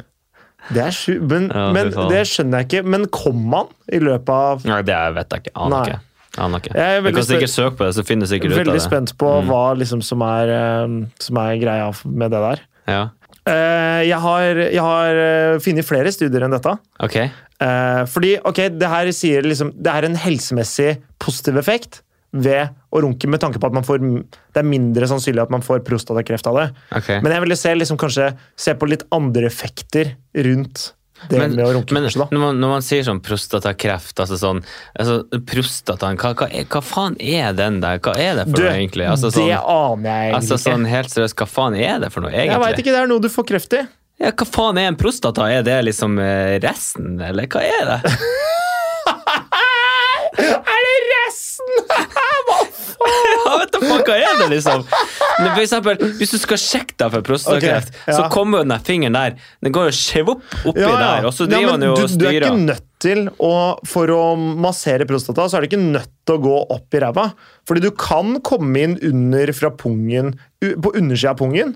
Det er sju, men,
Ja,
men
fy faen.
det skjønner jeg ikke. Men kom han i løpet av
Nei, det vet jeg ikke. Aner
Nei.
ikke. Aner ikke.
Jeg er
Du
veldig
kan sikkert søke på det, så finner du sikkert ut av
Veldig
det. Mm.
spent på hva liksom som er, eh, som er greia med det der.
Ja.
Eh, Jeg har, jeg har eh, funnet flere studier enn dette.
Ok.
Eh, Fordi, ok, det her sier liksom Det er en helsemessig positiv effekt ved å runke, med tanke på at man får, det er mindre sannsynlig at man får prostatakreft av det.
ok.
Men jeg ville se, liksom, kanskje, se på litt andre effekter rundt det
Men-
med å runke.
men
kanskje, da.
når, man, når man sier sånn prostatakreft, altså sånn altså Prostataen, hva, hva, er, hva faen er den der? Hva er det for
Du,
noe, egentlig? Altså
det
sånn,
aner jeg egentlig
altså sånn
ikke.
helt seriøst, hva faen er det for noe,
Jeg veit
egentlig?
ikke, det er noe du får kreft i.
Ja, hva faen er en prostata? Er det liksom eh, resten, eller hva er det?
Er det resten?!
Ja, vet du faen, hva er det, liksom? Men for eksempel, hvis du skal sjekke deg for prostatakreft,
Ok, ja.
så kommer jo den der fingeren der. Den går jo sjevopp oppi der, og så
Ja,
driver
men
han jo
du,
og
du er
styrer.
ikke nødt til å For å massere prostata, så er du ikke nødt til å gå opp i ræva. Fordi du kan komme inn under fra pungen, u- på undersida av pungen,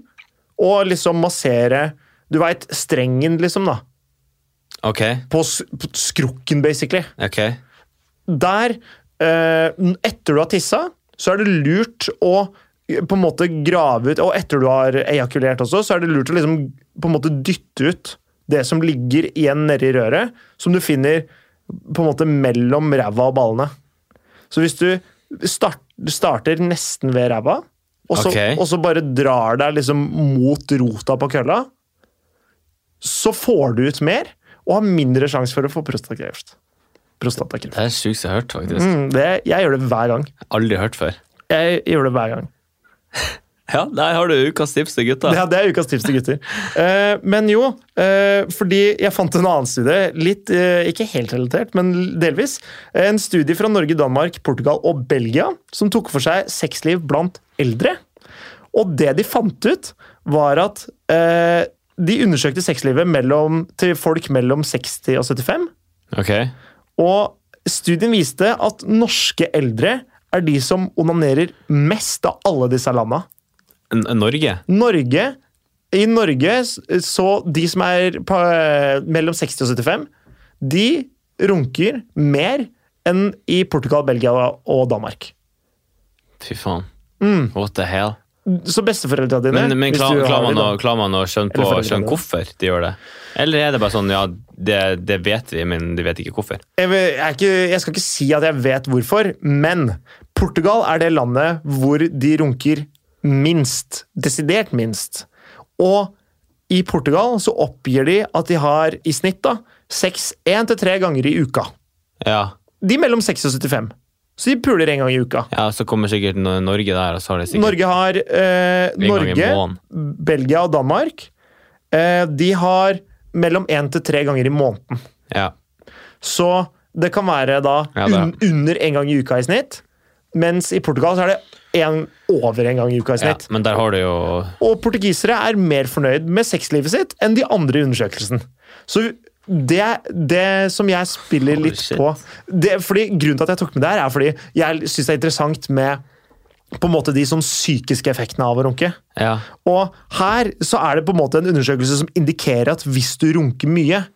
og liksom massere Du veit, strengen, liksom, da.
Ok,
På, s- på skrukken, basically.
ok.
der eh, Etter du har tissa, så er det lurt å eh, på en måte grave ut Og etter du har ejakulert også, så er det lurt å liksom på en måte dytte ut det som ligger igjen nedi røret, som du finner på en måte mellom ræva og ballene. Så hvis du start, starter nesten ved ræva, og så,
Ok.
og så bare drar deg liksom mot rota på kølla, så får du ut mer og har mindre sjanse for å få prostatakreft. Prostatakreft.
Det er det sjukeste jeg har hørt, faktisk.
Mm, det, jeg gjør det hver gang.
Aldri hørt før.
Jeg gjør det hver gang.
Ja, der har du ukas tips til gutta.
Det, er- det er ukas tips til gutter. Eh, men jo, eh, fordi jeg fant en annen studie, litt, eh, ikke helt relatert, men delvis. En studie fra Norge, Danmark, Portugal og Belgia som tok for seg sexliv blant eldre. Og det de fant ut, var at eh, de undersøkte sexlivet mellom, til folk mellom 60 og 75.
Ok.
Og studien viste at norske eldre er de som onanerer mest av alle disse landa.
N Norge?
Norge I Norge s- så de som er på, eh, mellom 60 og 75, de runker mer enn i Portugal, Belgia og Danmark.
Fy faen. What the hell?
Så besteforeldra dine
Men, men
Mm. hvis
klar,
du har
klarer man,
de, da.
å- klarer man å skjønne, på,
Eller foreldre,
skjønne
da.
hvorfor de gjør det? Eller er det bare sånn ja, det, det vet vi, men de vet ikke hvorfor?
jeg, vil- jeg, er ikke, jeg skal ikke si at jeg vet hvorfor, men Portugal er det landet hvor de runker minst. Desidert minst. Og i Portugal så oppgir de at de har i snitt da, seks én til tre ganger i uka.
Ja,
De er mellom 6 og 75. Så de puler en gang i uka.
ja så kommer sikkert Nor- Norge der, og så har de sikkert
Norge har eh,
gang i
Norge, Belgia og Danmark. Eh, de har mellom én til tre ganger i måneden.
ja.
Så det kan være da
Ja, det er-
un under én gang i uka i snitt. Mens i Portugal så er det en, over én gang i uka i
ja.
snitt.
Men der har du jo
Og portugisere er mer fornøyd med sexlivet sitt enn de andre i undersøkelsen. Så det, det som jeg spiller
Holy
litt
shit.
på det, fordi Grunnen til at jeg tok med det her, er fordi jeg syns det er interessant med på en måte de sånn psykiske effektene av å runke.
Ja.
Og her så er det på en måte en undersøkelse som indikerer at hvis du runker mye,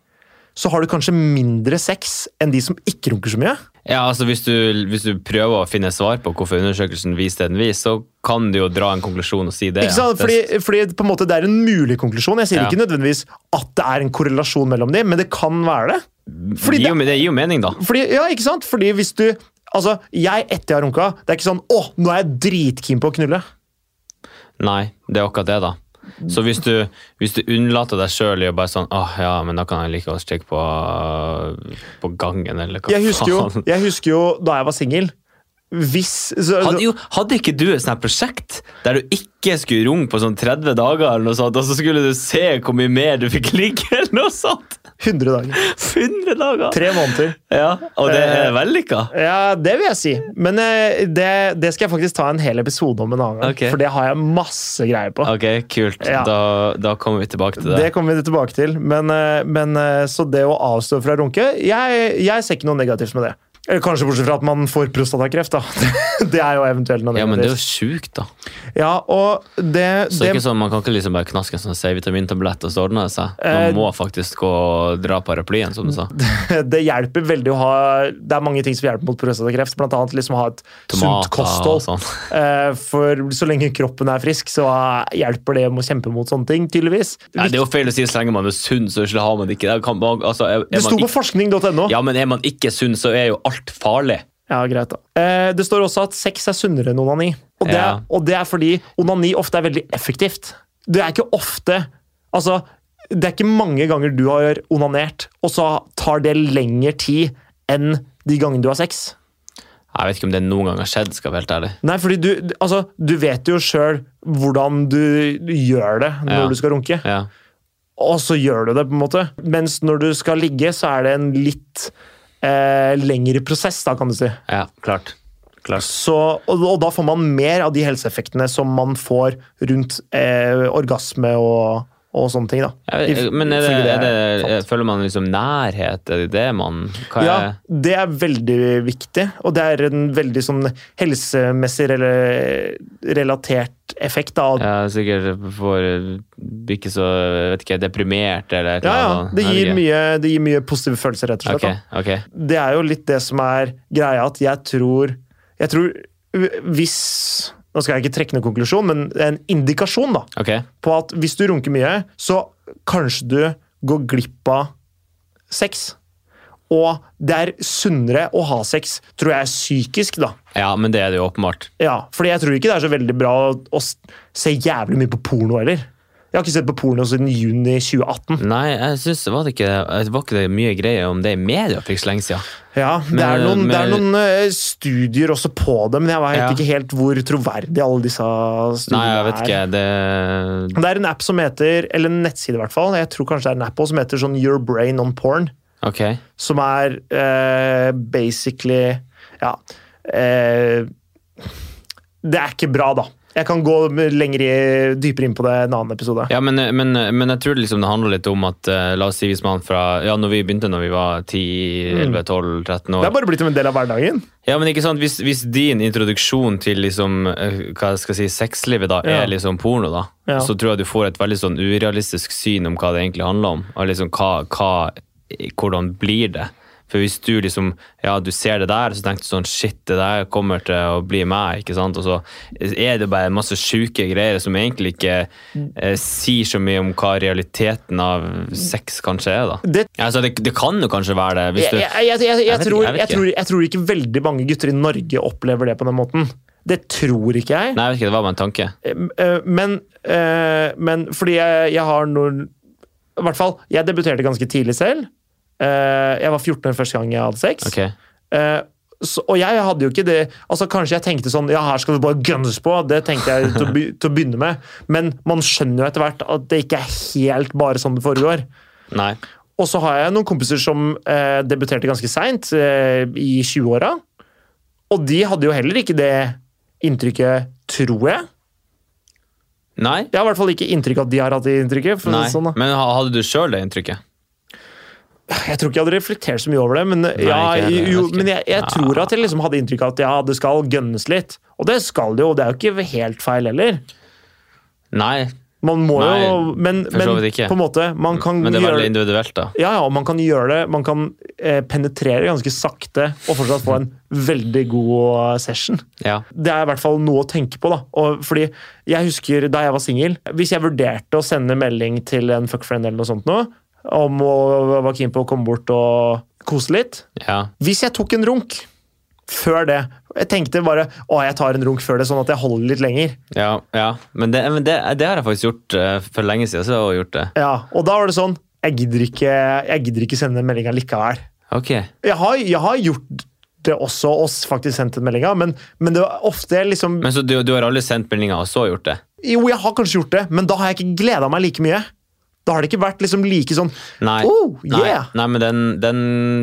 så har du kanskje mindre sex enn de som ikke runker så mye.
Ja, altså hvis du, hvis du prøver å finne svar på hvorfor undersøkelsen viser det den viser, så kan du jo dra en konklusjon og si det.
Ikke sant?
Ja.
Fordi,
Det-
fordi på en måte det er en mulig konklusjon. Jeg sier
Ja.
ikke nødvendigvis at det er en korrelasjon mellom dem, men det kan være det. fordi
det, gir jo, det gir jo mening, da.
Fordi, ja, ikke sant? Fordi hvis du Altså, jeg etter jeg har runka, det er ikke sånn 'Å, nå er jeg dritkeen på å knulle'.
Nei, det er akkurat det, da. Så hvis du, hvis du unnlater deg sjøl i å bare sånn åh ja, men da kan jeg like godt stikke på, på gangen, eller hva
Jeg husker jo,
faen.
jeg husker jo da jeg var singel. Hvis så,
Hadde, jo, hadde ikke du et sånt her prosjekt der du ikke skulle runge på sånn 30 dager, eller noe sånt, og så skulle du se hvor mye mer du fikk ligge? eller noe sånt?
100 dager.
100 dager!
Tre Eh, måneder.
Ja, Og det er vellykka?
Ja, det vil jeg si. Men eh, det, det skal jeg faktisk ta en hel episode om en annen gang.
Ok.
For det har jeg masse greier på.
Ok, kult.
Ja.
Da, da kommer vi tilbake til det.
Det kommer vi tilbake til. Men, eh, men eh, så det å avstå fra å runke jeg, jeg ser ikke noe negativt med det. Eller kanskje bortsett fra at man får prostatakreft, da. Det er jo eventuelt noe
Ja, men det er jo
negativt.
sjukt, da.
Ja, og det,
Så det er
det
ikke sånn, Man kan ikke liksom bare knaske en sånn C-vitamintablett og så ordner det seg.
Eh,
Man må faktisk gå og dra paraplyen, som du sa.
det hjelper veldig å ha Det er mange ting som hjelper mot prostatakreft, bl.a. liksom ha et sunt
Tomater og
kosthold.
sånn.
Eh, For så lenge kroppen er frisk, så eh, hjelper det å kjempe mot sånne ting, tydeligvis.
Nei, det er jo feil å si så lenge man er sunn, så ikke har man det ikke det. Kan, man- altså, er,
Det
er
sto
man
på
ikke,
forskning.no. Ja.
ja, men er man ikke sunn, så er jo alt farlig.
greit da. Eh, Det står også at sex er sunnere enn onani. Og det,
Ja.
og det er fordi onani ofte er veldig effektivt. Det er ikke ofte Altså, det er ikke mange ganger du har onanert, og så tar det lengre tid enn de gangene du har sex.
Jeg vet ikke om det noen gang har skjedd, skal jeg være helt ærlig.
Nei, fordi du, altså, du vet jo sjøl hvordan du gjør det når
Ja.
du skal runke,
Ja.
og så gjør du det, på en måte. Mens når du skal ligge, så er det en litt eh, lengre prosess, da, kan du si.
ja, klart. klart.
Så, og, og da får man mer av de helseeffektene som man får rundt eh, orgasme og, og sånne ting, da.
Jeg vet,
If-
men er det,
ifølge
er det,
jeg fant.
føler man liksom nærhet? Er det det man hva er,
ja, det er veldig viktig, og det er en veldig sånn helsemessig rela- relatert effekt da, av
Jeg er sikkert for ikke så jeg vet ikke, deprimert eller et
Ja,
eller
ja.
annet.
Det
Jeg vet
gir,
ikke.
mye, det gir mye positive følelser, rett og slett.
Ok,
da.
ok.
Det er jo litt det som er greia, at jeg tror Jeg tror hvis Nå skal jeg ikke trekke noen konklusjon, men en indikasjon da,
ok.
på at hvis du runker mye, så kanskje du går glipp av sex. Og det er sunnere å ha sex, tror jeg, psykisk, da.
Ja, men det er det jo åpenbart.
Ja, fordi jeg tror ikke det er så veldig bra å, å s- se jævlig mye på porno heller. Jeg har ikke sett på porno siden juni 2018.
Nei, jeg synes, var, det ikke, var ikke det mye greier om det i media for ikke så lenge siden?
Ja, Det
Men-
er noen, det er
men-
noen eh, studier også på det, men jeg vet
Ja.
ikke helt hvor troverdig alle disse
Nei,
studiene
jeg vet ikke. Det
er. Det er en app som heter, eller en nettside i hvert fall, jeg tror kanskje det er en app også, som heter sånn Your Brain on Porn.
Ok.
som er eh, basically Ja. eh, det er ikke bra, da. Jeg kan gå lenger i, dypere inn på det i en annen episode.
Ja, men, men, men jeg tror liksom det handler litt om at eh, La oss si hvis man fra Ja, når vi begynte når vi var 10-11-12-13
Mm. Det
år.
er bare blitt en del av hverdagen.
Ja, men ikke sant, hvis, hvis din introduksjon til liksom, eh, hva jeg skal si, sexlivet da,
Ja.
er liksom porno, da,
Ja.
så tror jeg du får et veldig sånn urealistisk syn om hva det egentlig handler om. Og liksom hva, hva, hvordan blir det? For hvis du liksom, ja, du ser det der, så tenker du sånn, shit, det der kommer til å bli meg, ikke sant? Og så er det bare masse syke greier som egentlig ikke eh, sier så mye om hva realiteten av sex kanskje er, da.
Det,
Altså, det, det kan jo kanskje være det, hvis
jeg,
du...
jeg, jeg, jeg, jeg,
vet ikke,
tror,
jeg vet
jeg,
ikke.
tror, jeg tror ikke veldig mange gutter i Norge opplever det på den måten. Det tror ikke jeg.
Nei, jeg vet ikke, det var bare en tanke.
Eh, men, eh, men fordi jeg, jeg har noen I hvert fall, jeg debuterte ganske tidlig selv. Eh, jeg var 14 år første gang jeg hadde sex.
Ok.
Eh, så, og jeg hadde jo ikke det altså Kanskje jeg tenkte sånn Ja, her skal vi bare gønnes på. Det tenkte jeg til å, be, til å begynne med. Men man skjønner jo etter hvert at det ikke er helt bare sånn det foregår.
Nei.
Og så har jeg noen kompiser som eh, debuterte ganske seint, eh, i 20-åra. Og de hadde jo heller ikke det inntrykket, tror jeg.
Nei?
Jeg har i hvert fall ikke inntrykk av at de har hatt det inntrykket. For å si
Nei,
det sånn, da.
men ha- hadde du sjøl det inntrykket?
Jeg tror ikke jeg hadde reflektert så mye over det, men, ja,
ikke heller, jeg
jo,
vet ikke.
men jeg, jeg tror at jeg liksom hadde inntrykk av at ja, det skal gønnes litt. Og det skal det jo, det er jo ikke helt feil heller.
Nei,
Man må
Nei,
jo Men,
for så
men
vidt ikke.
på en måte, man kan
men det er
gjøre
veldig individuelt, da.
ja, ja, og man kan gjøre det, man kan eh, penetrere ganske sakte og fortsatt få en veldig god eh, session.
Ja.
Det er i hvert fall noe å tenke på. da. Og fordi jeg husker Da jeg var singel Hvis jeg vurderte å sende melding til en fuckfriend eller noe sånt nå, om å være keen på å komme bort og kose litt
ja.
Hvis jeg tok en runk før det Jeg tenkte bare å, jeg tar en runk før det, sånn at jeg holder litt lenger.
ja, ja. Men, det, men det, det har jeg faktisk gjort eh, for lenge siden. så har jeg også gjort det.
Ja, Og da var det sånn Jeg gidder ikke, jeg gidder ikke sende den meldinga likevel.
Ok.
Jeg har, jeg har gjort det også, oss faktisk sendt den meldinga, men, men det var ofte jeg liksom
Men så du, du har aldri sendt meldinger og så gjort det?
Jo, jeg har kanskje gjort det, men da har jeg ikke gleda meg like mye. Da har det ikke vært liksom like sånn
Nei.
Oh, yeah!
Nei, nei men den, den,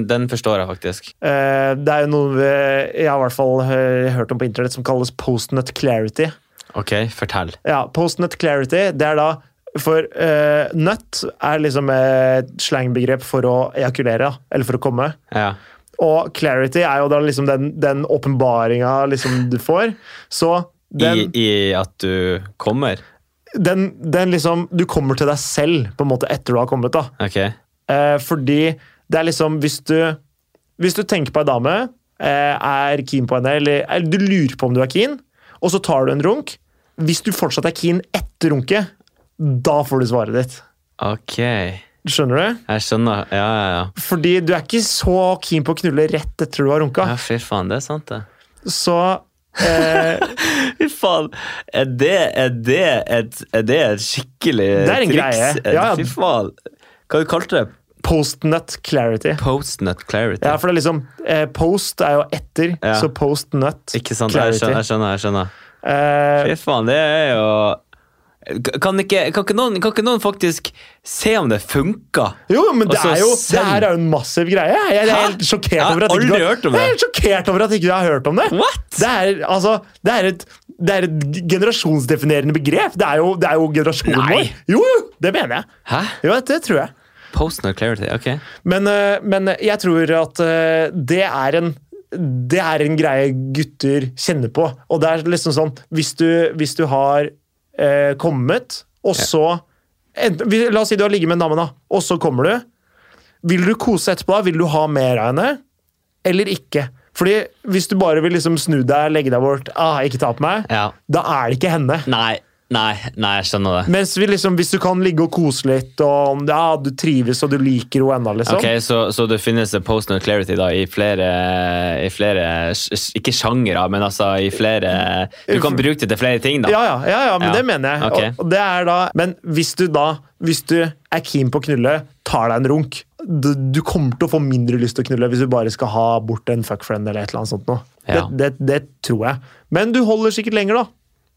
den forstår jeg faktisk.
Eh, det er jo noe eh, jeg har i hvert fall eh, hørt om på internett som kalles postnut clarity.
Ok, fortell.
Ja, Postnut clarity, det er da For eh, nut er liksom et slangbegrep for å ejakulere, da, eller for å komme.
Ja.
Og clarity er jo da liksom den, den åpenbaringa liksom du får. Så den
I, I at du kommer?
den, den liksom Du kommer til deg selv på en måte etter du har kommet. da.
Ok.
Eh, fordi det er liksom Hvis du, hvis du tenker på ei dame, eh, er keen på henne, eller, eller du lurer på om du er keen, og så tar du en runk Hvis du fortsatt er keen etter runket, da får du svaret ditt.
Ok. Jeg
Skjønner du?
skjønner. Ja, ja, ja.
Fordi du er ikke så keen på å knulle rett etter du har runka.
Ja, fy faen, det er sant, det.
Så eh,
Fy faen. Er det, er det, et, er det et skikkelig
Det er en
triks?
greie.
Er-
Ja, ja.
Fy faen. Hva du kalte du det?
postnut clarity.
Postnut clarity.
Ja, for det er liksom eh, Post er jo etter,
Ja.
så postnut
Ikke sant? Jeg skjønner,
clarity.
jeg skjønner. jeg skjønner.
Eh,
Fy faen, det er jo kan ikke, kan, ikke noen, kan ikke noen faktisk se om det funker?
Jo, jo, men
Og
det
så
er jo, det
send.
her er jo en massiv greie. Jeg er
Altså, Hæ?
helt sjokkert
Jeg har
over at
aldri
du
hørt om det.
Jeg er helt sjokkert over at ikke du har hørt om det.
What?
Det er, altså, det er, et, det er et g- generasjonsdefinerende begrep. Det er jo, det er jo generasjonen
Nei.
vår. Jo, jo, det mener jeg.
Hæ?
Jo, det tror jeg.
Postnut clarity, ok.
Men, øh, men jeg tror at øh, det er en det er en greie gutter kjenner på. Og det er liksom sånn Hvis du, hvis du har øh, kommet, og så enten, vi- La oss si du har ligget med en dame, da, og så kommer du. Vil du kose etterpå? da? Vil du ha mer av henne? Eller ikke? Fordi Hvis du bare vil liksom snu deg, legge deg bort, ah, ikke ta på meg,
Ja.
da er det ikke henne.
Nei. Nei, nei, jeg skjønner det.
Mens vi liksom, hvis du kan ligge og kose litt, og om det- ja, du trives og du liker henne ennå, liksom.
Ok, Så, så det finnes post and clarity da, i flere, i flere sj- sj- Ikke sjangere, men altså i flere Du kan bruke det til flere ting, da.
Ja, ja, ja, ja,
Ja,
men det mener jeg.
ok.
Og, og det er da, men hvis du da hvis du er keen på å knulle, tar deg en runk du, du kommer til å få mindre lyst til å knulle hvis du bare skal ha bort en fuckfriend eller et eller annet sånt. Noe.
Ja.
Det, det, det tror jeg. Men du holder sikkert lenger, da.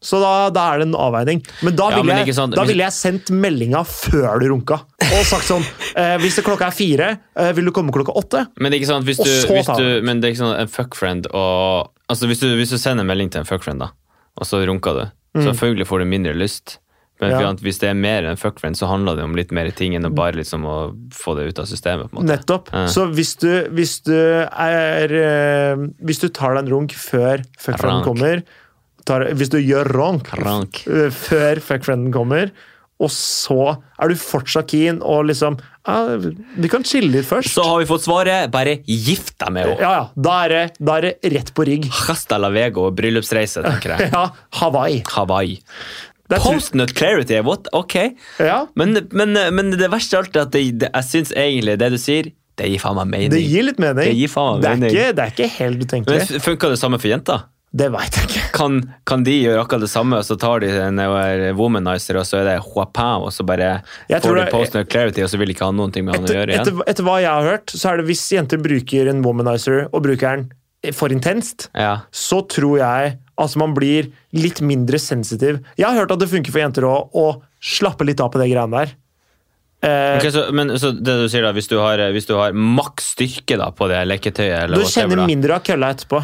Så da, da er det en avveining. Men da
Ja,
ville
men
jeg,
ikke sant,
da
hvis-
ville jeg sendt meldinga før du runka. Og sagt sånn eh, Hvis det klokka er fire, eh, vil du komme klokka åtte?
Men det er ikke sånn at hvis
Og
du,
så
hvis
tar
du
han.
Men det er ikke sånn at en fuckfriend og Altså hvis du, hvis du sender en melding til en fuckfriend, da, og så runker du, selvfølgelig får du mindre lyst. Men
Mm. Ja.
for at hvis det er mer enn fuckfriend, så handler det om litt mer ting enn å bare liksom å få det ut av systemet. på en måte.
Nettopp.
Ja.
Så hvis du, hvis du er eh, Hvis du tar deg en runk før fuckfrienden
Rank.
kommer tar, Hvis du gjør ronk
Rank.
eh, før fuckfrienden kommer, og så er du fortsatt keen og liksom ja, Vi kan chille litt først.
Så har vi fått svaret. Bare gift deg med henne!
Ja, ja. Da er det, da er det rett på rigg.
Hasta la vego og bryllupsreise, tenker jeg.
Ja, Hawaii.
Hawaii.
Det er tu-
Postnut clarity, what? Ok.
ja,
Men, men, men det verste av alt er at det, det, jeg syns egentlig det du sier, det gir faen meg mening.
det gir litt mening.
Det gir faen meg
Det er
mening.
Ikke, det er ikke helt
Men
utenkelig.
f- funker det samme for jenter?
Det veit jeg ikke.
Kan, kan de gjøre akkurat det samme, og så tar de en eh, womanizer, og så er det huapau, og så bare
Jeg tror
får de
det-
postnut clarity, og så vil de ikke ha noen ting med han å
etter,
gjøre igjen?
etter, etter hva jeg har hørt, så er det hvis jenter bruker en womanizer og bruker den for intenst,
Ja.
så tror jeg altså man blir litt mindre sensitiv. Jeg har hørt at det funker for jenter òg, å slappe litt av på det greiene der. Eh,
Ok, så, men så det du sier da, hvis du har, hvis du har maks styrke da, på det leketøyet eller
du
whatever
kjenner
da.
mindre av kølla etterpå.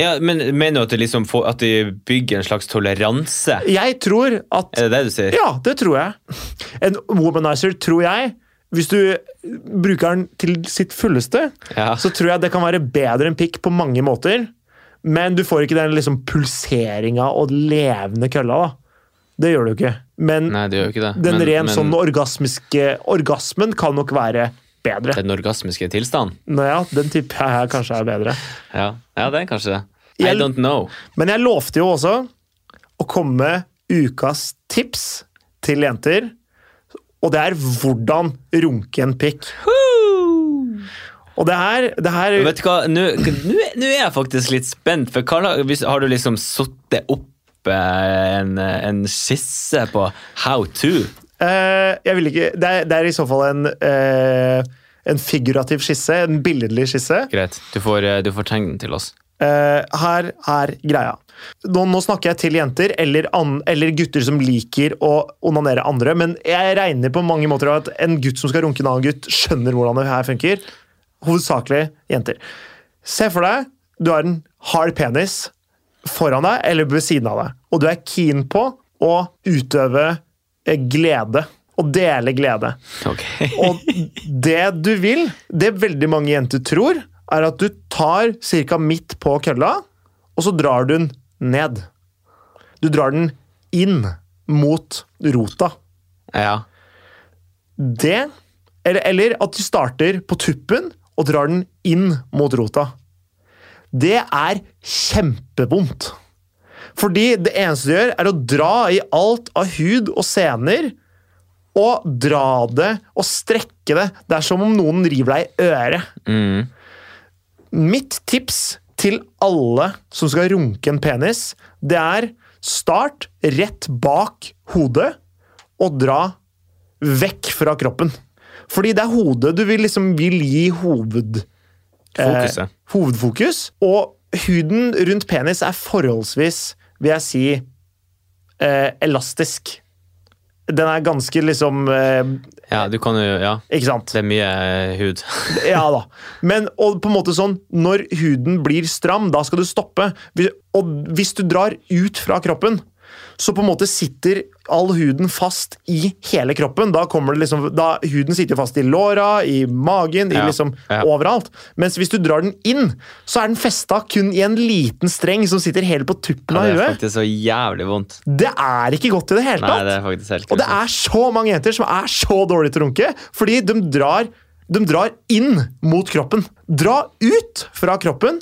Ja, men mener du at, det liksom får, at de bygger en slags toleranse?
Jeg tror at
Er det det du sier?
Ja, det tror jeg. En womanizer, tror jeg Hvis du bruker den til sitt fulleste,
Ja.
så tror jeg det kan være bedre enn pikk på mange måter. Men du får ikke den liksom pulseringa og levende kølla, da. Det gjør du ikke. Men
Nei, det gjør jo ikke det.
den
Men-
ren
men-
sånn orgasmiske Orgasmen kan nok være bedre.
Den orgasmiske tilstanden?
Nå ja, den tipper jeg her kanskje er bedre.
Ja, ja det er kanskje det. I
Jeg-
don't know.
Men jeg lovte jo også å komme med ukas tips til jenter. Og det er hvordan runke en pikk. Og det her, det her
Vet du hva, nå nå er nå er jeg faktisk litt spent, for hva, la- hvis, har du liksom suttet opp eh, en, en skisse på how to?
eh, Jeg vil ikke Det er, det er i så fall en, eh, en figurativ skisse. En billedlig skisse.
Greit, du får, eh, du får tegne den til oss.
Eh, her er greia. Nå, nå snakker jeg til jenter eller, an, eller gutter som liker å onanere andre, men jeg regner på mange måter at en gutt som skal runke en annen gutt, skjønner hvordan det her funker. Hovedsakelig jenter. Se for deg du har en hard penis foran deg eller ved siden av deg, og du er keen på å utøve eh, glede. Og dele glede.
Ok.
Og det du vil, det veldig mange jenter tror, er at du tar cirka midt på kølla, og så drar du den ned. Du drar den inn mot rota.
Ja.
Det Eller, eller at du starter på tuppen og drar den inn mot rota. Det er kjempevondt. Fordi det eneste du gjør, er å dra i alt av hud og sener. Og dra det og strekke det. Det er som om noen river deg i øret.
Mm.
Mitt tips til alle som skal runke en penis, det er start rett bak hodet og dra vekk fra kroppen. Fordi det er hodet du vil, liksom, vil gi hoved,
Fokuset.
hovedfokus. Og huden rundt penis er forholdsvis, vil jeg si, eh, elastisk. Den er ganske liksom eh,
Ja, du kan jo, ja.
Ikke sant?
Det er mye eh, hud.
Ja da. Men og på en måte sånn, når huden blir stram, da skal du stoppe. Hvis- Og hvis du drar ut fra kroppen, så på en måte sitter all huden fast i hele kroppen. Da kommer det liksom, da huden sitter fast i låra, i magen, i
Ja,
liksom
ja.
overalt. Mens hvis du drar den inn, så er den festa kun i en liten streng som sitter helt på tuppen
Ja,
av
det er
huet.
faktisk så jævlig vondt.
Det er ikke godt i det hele
Nei,
tatt.
det er faktisk helt
Og det er så mange jenter som er så dårlige til å runke, fordi de drar, de drar inn mot kroppen. Dra ut fra kroppen,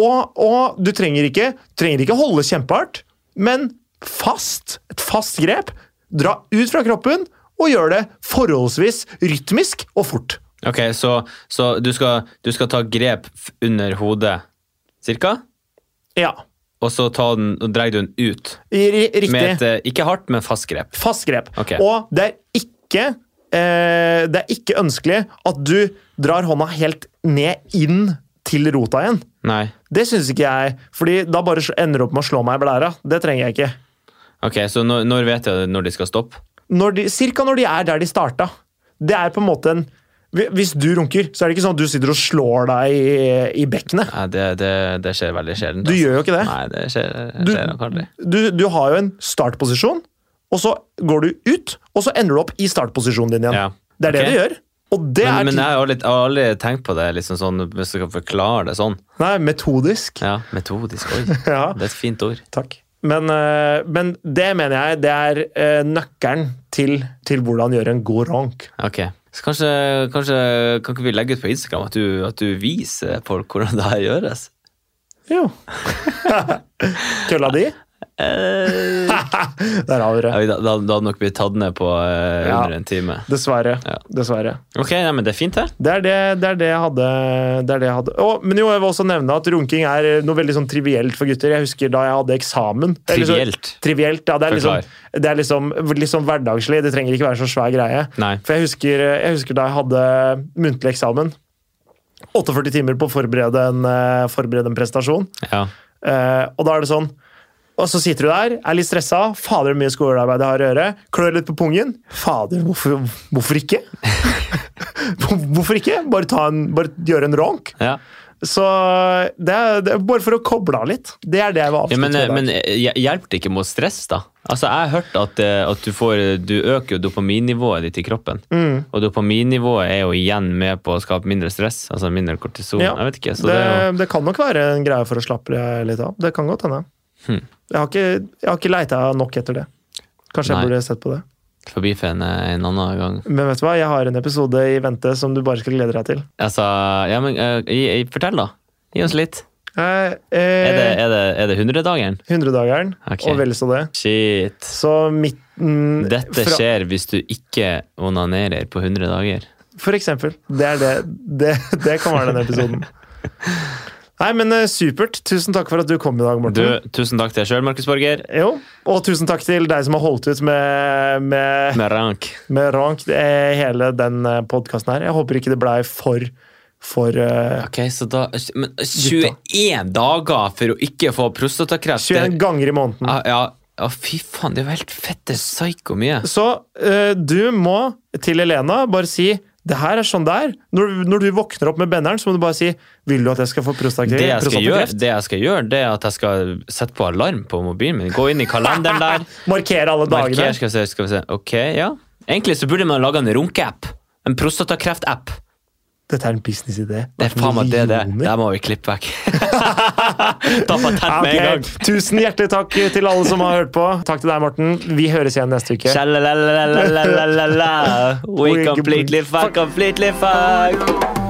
og, og du trenger ikke, trenger ikke holde kjempehardt, men fast, et fast grep. Dra ut fra kroppen og gjør det forholdsvis rytmisk og fort.
Ok, så, så du, skal, du skal ta grep f- under hodet, cirka,
Ja,
og så ta den, og dreier du den ut.
ri-
Med et,
riktig.
eh, ikke hardt, men fast grep.
Fast grep.
Ok.
Og det er ikke eh, Det er ikke ønskelig at du drar hånda helt ned inn til rota igjen.
Nei.
Det syns ikke jeg, fordi da bare sl- ender du opp med å slå meg i blæra. Det trenger jeg ikke.
Ok, så når, når vet jeg når de skal stoppe?
når de, cirka når de er der de starta. Det er på en måte en hvi- Hvis du runker, så er det ikke sånn at du sitter og slår deg i, i bekkenet.
Nei, det, det, det skjer veldig sjelden. altså.
Du gjør jo ikke det.
Nei, det skjer,
Du-
skjer nok aldri.
Du, du har jo en startposisjon, og så går du ut, og så ender du opp i startposisjonen din igjen.
Ja.
Det er det
Ok.
du gjør. Og det
Men,
er
men
ti-
jeg har aldri, jeg har aldri tenkt på det, liksom sånn, hvis du kan forklare det sånn.
Nei, metodisk.
Ja, metodisk. Oi,
Ja,
det er et fint ord.
takk. Men, eh, men det mener jeg det er eh, nøkkelen til, til hvordan gjøre en god ronk.
Ok. Så kanskje, kanskje kan ikke vi legge ut på Instagram at du, at du viser folk hvordan det her gjøres?
Jo. Kølla di?
Eh,
Der har vi det.
ja, da, da hadde nok blitt tatt ned på eh,
Ja.
under en time.
Dessverre.
Ja.
Dessverre.
Ok, nei, men det er fint, det.
Det er det, det, er det jeg hadde. Det er det jeg hadde. Å, men jo, jeg vil også nevne at runking er noe veldig sånn trivielt for gutter. Jeg husker da jeg hadde eksamen. Det er liksom-
Trivielt.
Trivielt, ja. Det er,
Forklar.
liksom, det er liksom, liksom hverdagslig. Det trenger ikke være så svær greie.
Nei.
For jeg husker, jeg husker da jeg hadde muntlig eksamen. 48 timer på å forberede en, eh, forberede en prestasjon.
Ja.
Eh, og da er det sånn Og så sitter du der, er litt stressa. Fader, hvor mye skolearbeid jeg har å gjøre. Klør litt på pungen. Fader, hvorfor, hvorfor ikke? hvorfor ikke? Bare, ta en, bare gjøre en ronk.
ja.
Så det er, det er bare for å koble av litt. Det er det jeg var
ja men, eh,
avsluttet med. i dag.
men hjelper det ikke mot stress, da? Altså, Jeg har hørt at, eh, at du, får, du øker jo dopaminnivået ditt i kroppen.
Mm.
Og dopaminnivået er jo igjen med på å skape mindre stress, altså mindre kortison.
Ja,
Jeg vet ikke, så
det,
det, er jo...
det kan nok være en greie for å slappe litt av. Det kan godt hende.
Hmm.
Jeg har ikke, jeg har ikke leita nok etter det. Kanskje
Nei.
jeg burde sett på det.
Forbifen eh, en annen gang.
Men vet du hva, jeg har en episode i vente som du bare skal glede deg til.
Altså, ja, men eh, gi- gi- fortell, da. Gi oss litt.
Eh,
Er det,
eh,
er det, er det 100-dageren?
100-dageren
Ok.
og vel så det.
Shit.
Så midten
Dette
fra,
skjer hvis du ikke onanerer på 100 dager.
For eksempel. Det er det. Det, det kan være den episoden. Nei, men eh, supert. Tusen takk for at du kom i dag,
Du,
Morten.
tusen takk til deg sjøl, Markus Borger.
Jo, Og tusen takk til deg som har holdt ut med, med,
Med rank.
med Rank eh, hele den podkasten her. Jeg håper ikke det blei for for eh,
Ok, så da Men 21 dager for å ikke få prostatakreft?
21
det-
ganger i måneden.
Ja, ja, ja, fy faen, det er jo helt fette psyko mye.
Så eh, du må til Elena bare si det her er sånn det er. Når, når du våkner opp med benderen, så må du bare si Vil du at jeg skal få prostatakre-
Det jeg, skal gjøre,
prostatakreft?
det jeg skal gjøre, det er at jeg skal sette på alarm på mobilen min. Gå inn i kalenderen der.
Markere alle dagene.
Marker, skal vi se, skal vi se. Ok, ja. Egentlig så burde man lage en runke-app. En prostatakreft-app.
Dette er en businessidé.
Det er faen meg det det. er.
Millioner.
Der må vi klippe vekk. Ta patent med en gang.
Ok, Tusen hjertelig takk til alle som har hørt på. Takk til deg, Morten. Vi høres igjen neste uke.
Shalalalalalalalala. We completely fuck, completely fuck.